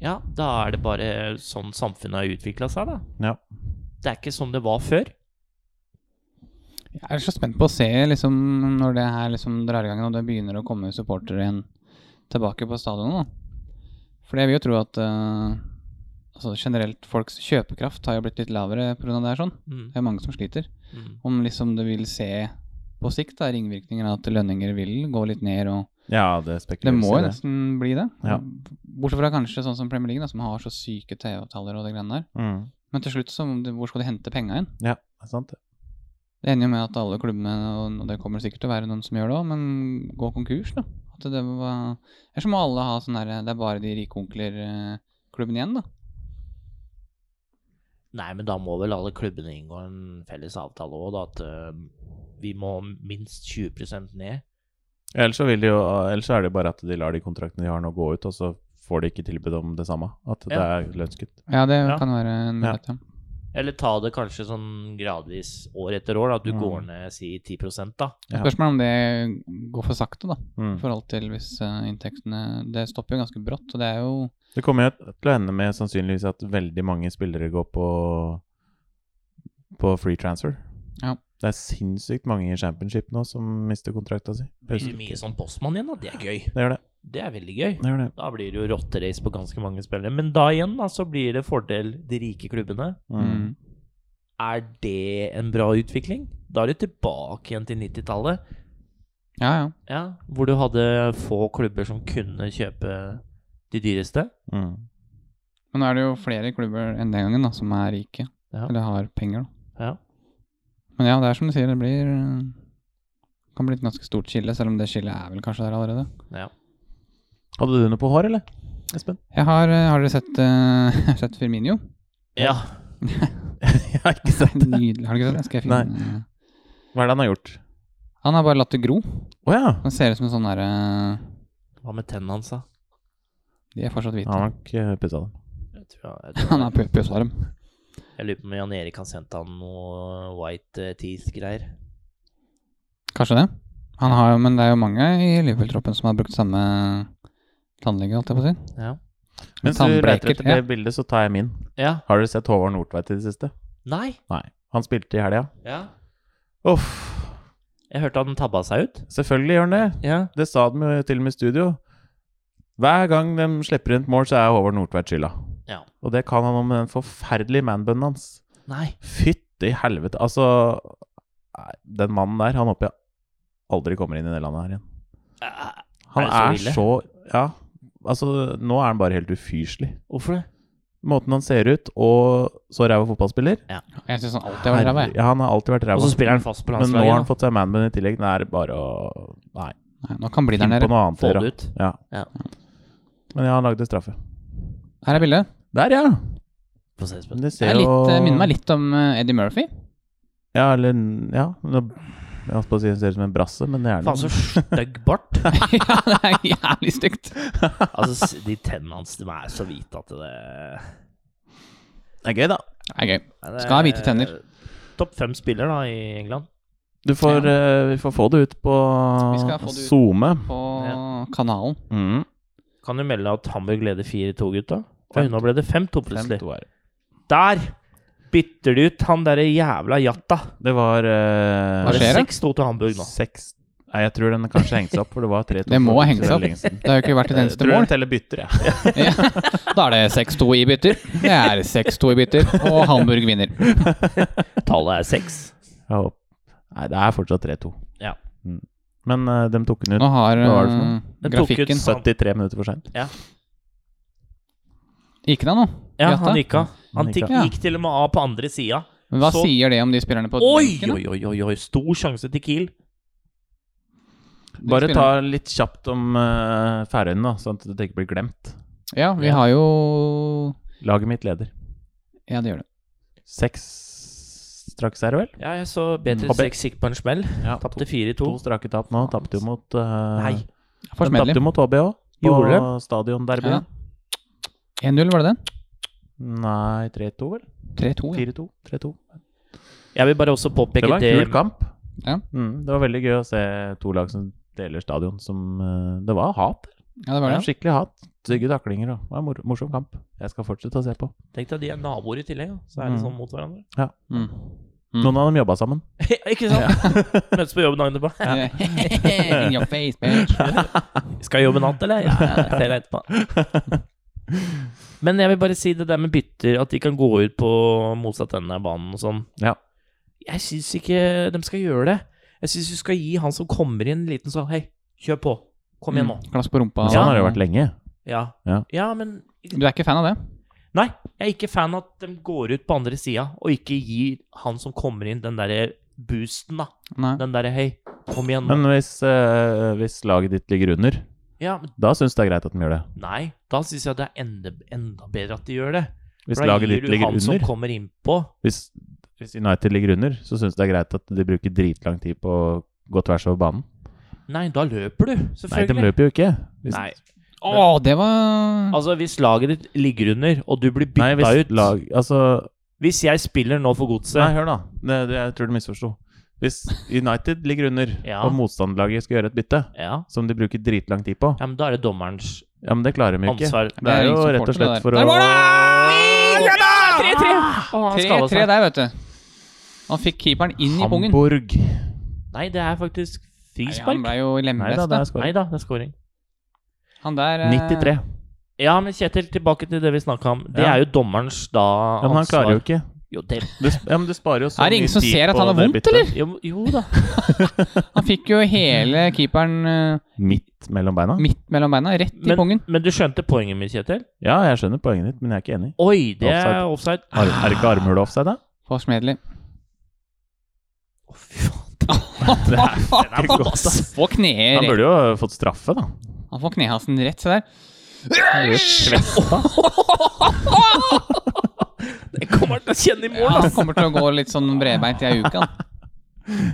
B: Ja, da er det bare sånn samfunnet har utvikla seg, da.
C: Ja.
B: Det er ikke som det var før.
A: Jeg er så spent på å se liksom, når det her liksom, drar i gang, og det begynner å komme supportere igjen tilbake på stadionet. da. For jeg vil jo tro at eh, altså, generelt folks kjøpekraft har jo blitt litt lavere pga. det her sånn.
B: Mm.
A: Det er mange som sliter.
B: Mm.
A: Om liksom du vil se på sikt da, ringvirkninger av at lønninger vil gå litt ned og
C: Ja, det
A: Det
C: spekuleres
A: må jo
C: i det.
A: nesten bli det.
C: Ja.
A: Bortsett fra kanskje sånn som Premier League, da, som har så syke TV-avtaler og det greiene der.
C: Mm.
A: Men til slutt, så, hvor skal de hente penga igjen?
C: Ja, det er sant det.
A: Det ender jo med at alle klubbene, og- og det kommer sikkert til å være noen som gjør det òg, men gå konkurs, da. At det var Ellers må alle ha sånn herre Det er bare de rike onkler-klubben igjen, da.
B: Nei, men da må vel alle klubbene inngå en felles avtale òg, da. At eh, vi må minst 20 ned.
C: Ellers så, vil de jo, ellers så er det jo bare at de lar de kontraktene de har nå gå ut, og så får de ikke tilbud om det samme. At det
B: Ja.
C: er lønnskutt.
A: Ja, det
B: Ja.
A: kan være en mulighet, ja.
B: Eller ta det kanskje sånn gradvis år etter år, da. At du
C: Mm.
B: går ned si 10 da.
C: Ja.
A: Spørsmålet er om det går for sakte, da. I
C: Mm.
A: forhold til hvis eh, inntektene Det stopper jo ganske brått, og det er jo
C: Det kommer jo til å ende med sannsynligvis at veldig mange spillere går på på free transfer.
A: Ja.
C: Det er sinnssykt mange i championship nå som mister kontrakta si.
B: Det blir mye sånn postmann igjen, da. Det er gøy.
C: Det gjør det.
B: Det er veldig gøy.
C: det, gjør det.
B: Da blir det jo rotterace på ganske mange spillere. Men da igjen, da, så blir det fordel de rike klubbene.
C: Mm.
A: mm.
B: Er det en bra utvikling? Da er du tilbake igjen til 90-tallet,
A: Ja, ja.
B: ja, hvor du hadde få klubber som kunne kjøpe de dyreste.
C: Mm.
A: Men nå er det jo flere klubber enn den gangen da, som er rike,
B: Ja.
A: eller har penger. da.
B: Ja.
A: Men ja, det er som du sier, det blir eh, kan bli et ganske stort skille, selv om det skillet er vel kanskje der allerede.
B: Ja.
C: Hadde du noe på hår, eller? Espen?
A: Jeg har, eh, har dere sett, eh, sett Firmino?
B: ja.
C: Jeg har ikke sett det.
A: Nydelig. Har du ikke sett det? Skal jeg finne
C: Hva er det han har gjort?
A: Han har bare latt det gro.
C: Å ja!
A: Han ser ut som en sånn derre
B: Hva med tennene hans, da?
A: De er fortsatt hvite.
C: Han har nok eh, pussa dem.
B: Jeg tror jeg, jeg, tror
A: Han er pøsvarm.
B: jeg lurer på om Jan Erik har sendt han noe white eh, teeth-greier.
A: Kanskje det. Han har, jo- men det er jo mange i Liverpool-troppen som har brukt samme tannlege, holdt jeg på å si.
B: Ja.
C: Mens du leter
A: Tannbleker,
C: etter det bildet, så tar jeg min.
B: ja.
C: Har dere sett Håvard Nordtveit i det siste?
B: Nei.
C: Nei. Han spilte i helga.
B: Ja.
C: Uff.
B: Jeg hørte han tabba seg ut.
C: Selvfølgelig gjør han det.
B: Ja.
C: Det sa de jo til og med i studio. Hver gang de slipper inn et mål, så er Håvard Nordtveit skylda.
B: Ja.
C: Og det kan han om den forferdelige manbunnen hans.
B: Nei.
C: Fytti helvete. Altså, nei, den mannen der, han håper jeg aldri kommer inn i det landet her igjen. Han
B: Er det så
C: er
B: ille?
C: så, Ja. Altså, nå er han bare helt ufyselig.
B: Hvorfor det?
C: Måten han ser ut, og så ræva fotballspiller.
A: Jeg syns han alltid har vært ræva. jeg.
C: Herre- Ja, han har alltid vært ræva.
B: Og så spiller han fast på
C: Men nå har han
B: landslaget.
C: fått seg manbun i tillegg. Det er bare å Nei.
A: Nei, Nå kan han bli der
C: Finn på
A: nede.
C: noe annet.
B: Få
C: dere.
B: det ut.
C: Ja.
B: Ja.
C: Men ja, han lagde straffe.
A: Her er bildet.
C: Der, ja!
B: Få se, Espen.
C: Men det
A: Det
C: ser
A: er litt,
C: jo
A: eh, minner meg litt om eh, Eddie Murphy.
C: Ja, eller Ja. nå- Jeg holdt på å si det ser ut som en brasse, men det er
B: Faen, så
C: det.
B: stygg bart.
A: ja, det er jævlig stygt.
B: altså, s- de tennene hans de er så hvite at det,
C: Det er gøy, da.
A: Det er gøy.
B: det
A: Skal ha hvite tenner.
B: Topp fem spiller da i England.
C: Du får,
A: Ja.
C: eh, vi får få det ut på
A: Vi skal få det ut.
C: SoMe.
A: På kanalen.
C: Mm.
B: Kan jo melde at Hamburg leder 4-2, gutta. Oi, nå ble det 5-2 plutselig.
C: 5-2 er det.
B: Der bytter de ut han derre jævla Jatta.
C: Det var eh,
A: Hva
B: Det
A: skjer
B: er
A: da?
B: 6-2 til Hamburg nå.
C: Seks Nei, jeg tror den kanskje hengte seg opp, for det var 3-2.
A: Det må
C: for-
A: ha hengt
C: for
A: seg opp.
C: lenge siden.
A: Det har jo ikke vært et
C: Jeg
A: eneste
C: tror
A: mål.
C: den teller bytter, jeg.
A: Ja. Da er det 6-2 i bytter. Det er 6-2 i bytter, og Hamburg vinner.
B: Tallet er 6.
C: Jeg håper- Nei, det er fortsatt 3-2.
B: Ja.
C: Mm. Men eh, de tok den ut
A: Nå har
C: Hva var
A: eh,
C: det for noe?
B: Den tok ut
A: grafikken
B: sa-
C: 73 minutter for seint.
A: Gikk den av nå?
B: Ja,
A: Jatta?
B: han gikk av. Han
C: Han gikk
B: gikk,
A: av.
B: gikk til og med av på andre sida.
A: Men hva
B: Så-
A: sier det om de spillerne på
B: Oi,
A: benken, da?
B: oi, oi, oi, oi, stor sjanse til Kiel.
A: De
C: Bare
A: spillerne-
C: ta litt kjapt om eh, Færøyene, da, sånn at det ikke blir glemt.
A: Ja, vi
B: Ja.
A: har jo
C: Laget mitt leder.
A: Ja, det gjør det.
C: Seks straks er det vel?
B: Ja, jeg så
C: Habbe.
B: B36 gikk på en smell.
C: Ja, To
B: Tapte 4-2.
C: strapte tap nå. Tapte jo mot eh,
B: Nei.
C: De tapte
A: Forsmedelig.
C: jo mot HB òg.
B: Gjorde
C: På
B: de?
C: stadionderbyen.
A: Ja. 1-0, var det det?
C: Nei, 3-2 vel?
A: 3-2. ja.
C: 4-2? 3-2.
B: Jeg vil bare også
C: Det
B: påpeke
C: var en kul kamp.
A: Ja.
C: Mm, det var veldig gøy å se to lag som deler stadion som eh, Det var hat.
A: Ja, det
C: Det
A: var
C: var
A: det.
C: Skikkelig hat. Stygge taklinger og det var en mor morsom kamp. Jeg skal fortsette å se på.
B: Tenk deg at de er naboer i tillegg, da. så er de
C: Mm.
B: sånn mot hverandre.
A: Mm.
C: Noen av dem jobba sammen.
B: Ikke sant? Møtes på jobb dagen etterpå.
A: Eh, In your face, bitch.
B: Skal jeg jobbe natt, eller? Ja, det ser jeg etterpå. Men jeg vil bare si det der med bytter, at de kan gå ut på motsatt ende av banen og sånn.
C: Ja.
B: Jeg syns ikke de skal gjøre det. Jeg syns du skal gi han som kommer inn, en liten sånn Hei, kjør på. Kom igjen nå.
A: Mm, Klass på rumpa.
C: Men Sånn har det jo vært lenge.
B: Ja.
C: Ja.
B: men
A: Du er ikke fan av det?
B: Nei, jeg er ikke fan av at de går ut på andre sida og ikke gir han som kommer inn, den derre boosten, da.
A: Nei.
B: Den derre Hei, kom igjen nå.
C: Men hvis, eh, hvis laget ditt ligger under,
B: Ja, men
C: da syns jeg det er greit at de gjør det.
B: nei. Da syns jeg det er enda, enda bedre at de gjør det.
C: Hvis
B: For da
C: laget
B: gir
C: ditt
B: du
C: ligger
B: han som
C: under,
B: kommer innpå
C: hvis, hvis United ligger under, så syns jeg det er greit at de bruker dritlang tid på å gå tvers over banen.
B: Nei, da løper du,
C: Nei, de
B: selvfølgelig.
C: løper jo ikke. Hvis,
B: Nei.
A: Å, det var
B: Altså, hvis laget ditt ligger under, og du blir bytta
C: Nei, hvis
B: ut
C: lag Altså
B: Hvis jeg spiller nå for
C: Nei,
B: godset
C: hør, da. Det, det, jeg tror du misforsto. Hvis United ligger under,
B: Ja.
C: og motstanderlaget skal gjøre et bytte,
B: ja.
C: som de bruker dritlang tid på,
B: ja, men da er det dommerens
C: ja, men det klarer de jo ikke.
B: ansvar.
C: Det er jo
A: ingen
C: rett
A: supporter,
C: og slett
A: det
C: for
A: der. Der
C: å
A: var det! Ja da!
B: 3-3! Å, Ah, han skadet
A: 3-3
B: seg.
A: der, vet du. Han fikk keeperen inn i pungen.
C: Hamburg.
B: Nei, det er faktisk
A: Nei, han
B: frispark.
A: ble jo
C: Nei da, det
A: lemlesta.
C: er
B: Nei
C: skåring.
B: da, det er scoring.
A: Han der eh,
C: 93.
B: Ja, men Kjetil, tilbake til det vi snakka om. Det
C: Ja.
B: er jo dommerens da
C: Ja, men han
B: ansvar.
C: klarer jo ikke.
B: Jo, det,
C: Du, sp- ja, men du sparer jo så
A: Er det
C: mye
A: ingen som
C: tid
A: ser at
C: på
A: han har
C: det
A: vondt,
C: byttet.
A: eller?
B: jo, jo da.
A: Han fikk jo hele keeperen eh,
C: Midt mellom beina?
A: midt mellom beina, rett i
B: Men,
A: pungen.
B: men du skjønte poenget mitt, Kjetil?
C: Ja, jeg skjønner poenget ditt, men jeg er ikke enig.
B: Oi, det er offside.
C: Ar er det ikke armhule offside, da?
A: Forsmedelig.
B: Å, fy faen.
C: Det er
B: Den er
C: ikke godt,
B: pass.
C: ass.
A: Få kneet
C: Han
A: rett.
C: burde jo ha fått straffe, da.
A: Han får knehasen rett, se der.
B: Det kommer han til å kjenne i
A: Ja,
B: mål,
A: han
B: ass.
A: kommer til å gå litt sånn bredbeint i ei uke, han.
B: Nei,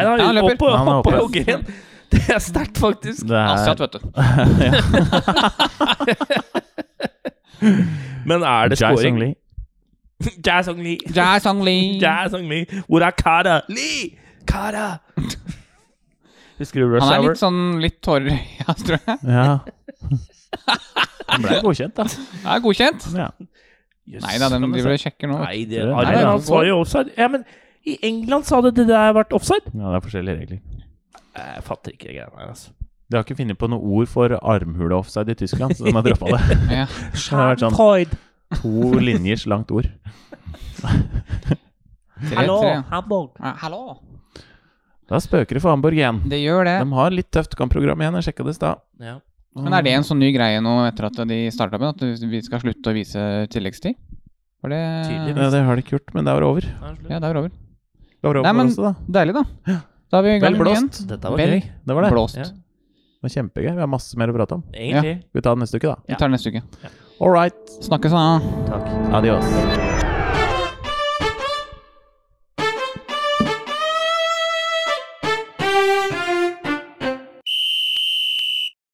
A: Ja,
B: er
A: han løper.
B: oppe på,
C: Ja, han er
B: oppe på
C: oppe.
B: joggen. Det er sterkt, faktisk.
C: Det
A: Asiat,
C: er
A: vet du.
B: Men er det
C: Jai Song
B: scoring?
C: Lee.
B: Jai Song Lee.
A: Jai Song Lee.
B: Jai Song Lee. Hvor er Kara? Lee! Kara! Husker du Rush
A: Han er
B: Hour?
A: litt sånn litt tårer i øya, tror jeg.
C: Ja. Han ble godkjent, da.
A: Det er godkjent.
C: Ja.
B: Jøss,
A: Nei da, de
B: kan man
A: driver
B: si.
A: og sjekker nå.
B: Nei, det
C: altså. Nei,
B: Arjen,
A: det er
B: han sa jo offside. Ja, men i England så hadde det der vært offside.
C: ja, det er forskjellige regler.
B: Jeg fatter ikke det greiene her, altså.
C: De har ikke funnet på noe ord for armhule-offside i Tyskland, så de har droppa det.
A: Ja.
C: Det har vært sånn
B: Freud!
C: to linjers langt ord.
A: Tre,
B: Hallo,
A: tre.
B: Hamburg!
A: Ja, hallo!
C: Da spøker det for Hamburg igjen.
A: Det gjør det.
C: De har litt tøft kampprogram igjen, jeg sjekka det i stad.
G: Ja.
A: Men er det en sånn ny greie nå etter at de starta med at vi skal slutte å vise tilleggstid? For det
G: Tydeligvis.
C: Ja, det har de ikke gjort, men det var over.
G: Da er det slutt.
A: Ja, det er over.
C: Det var over
A: Nei, men-
C: for oss, da.
A: Deilig, da. Da er vi i gang
C: Vel
A: igjen.
C: blåst.
G: Dette var
A: Vel
G: gøy.
C: Det var det.
A: Blåst.
G: Ja.
C: Det var kjempegøy. Vi har masse mer å prate om.
G: Egentlig.
C: Vi tar det neste uke, da.
A: Vi tar det neste uke.
C: All right.
A: Snakkes, da.
G: Takk.
C: Adios.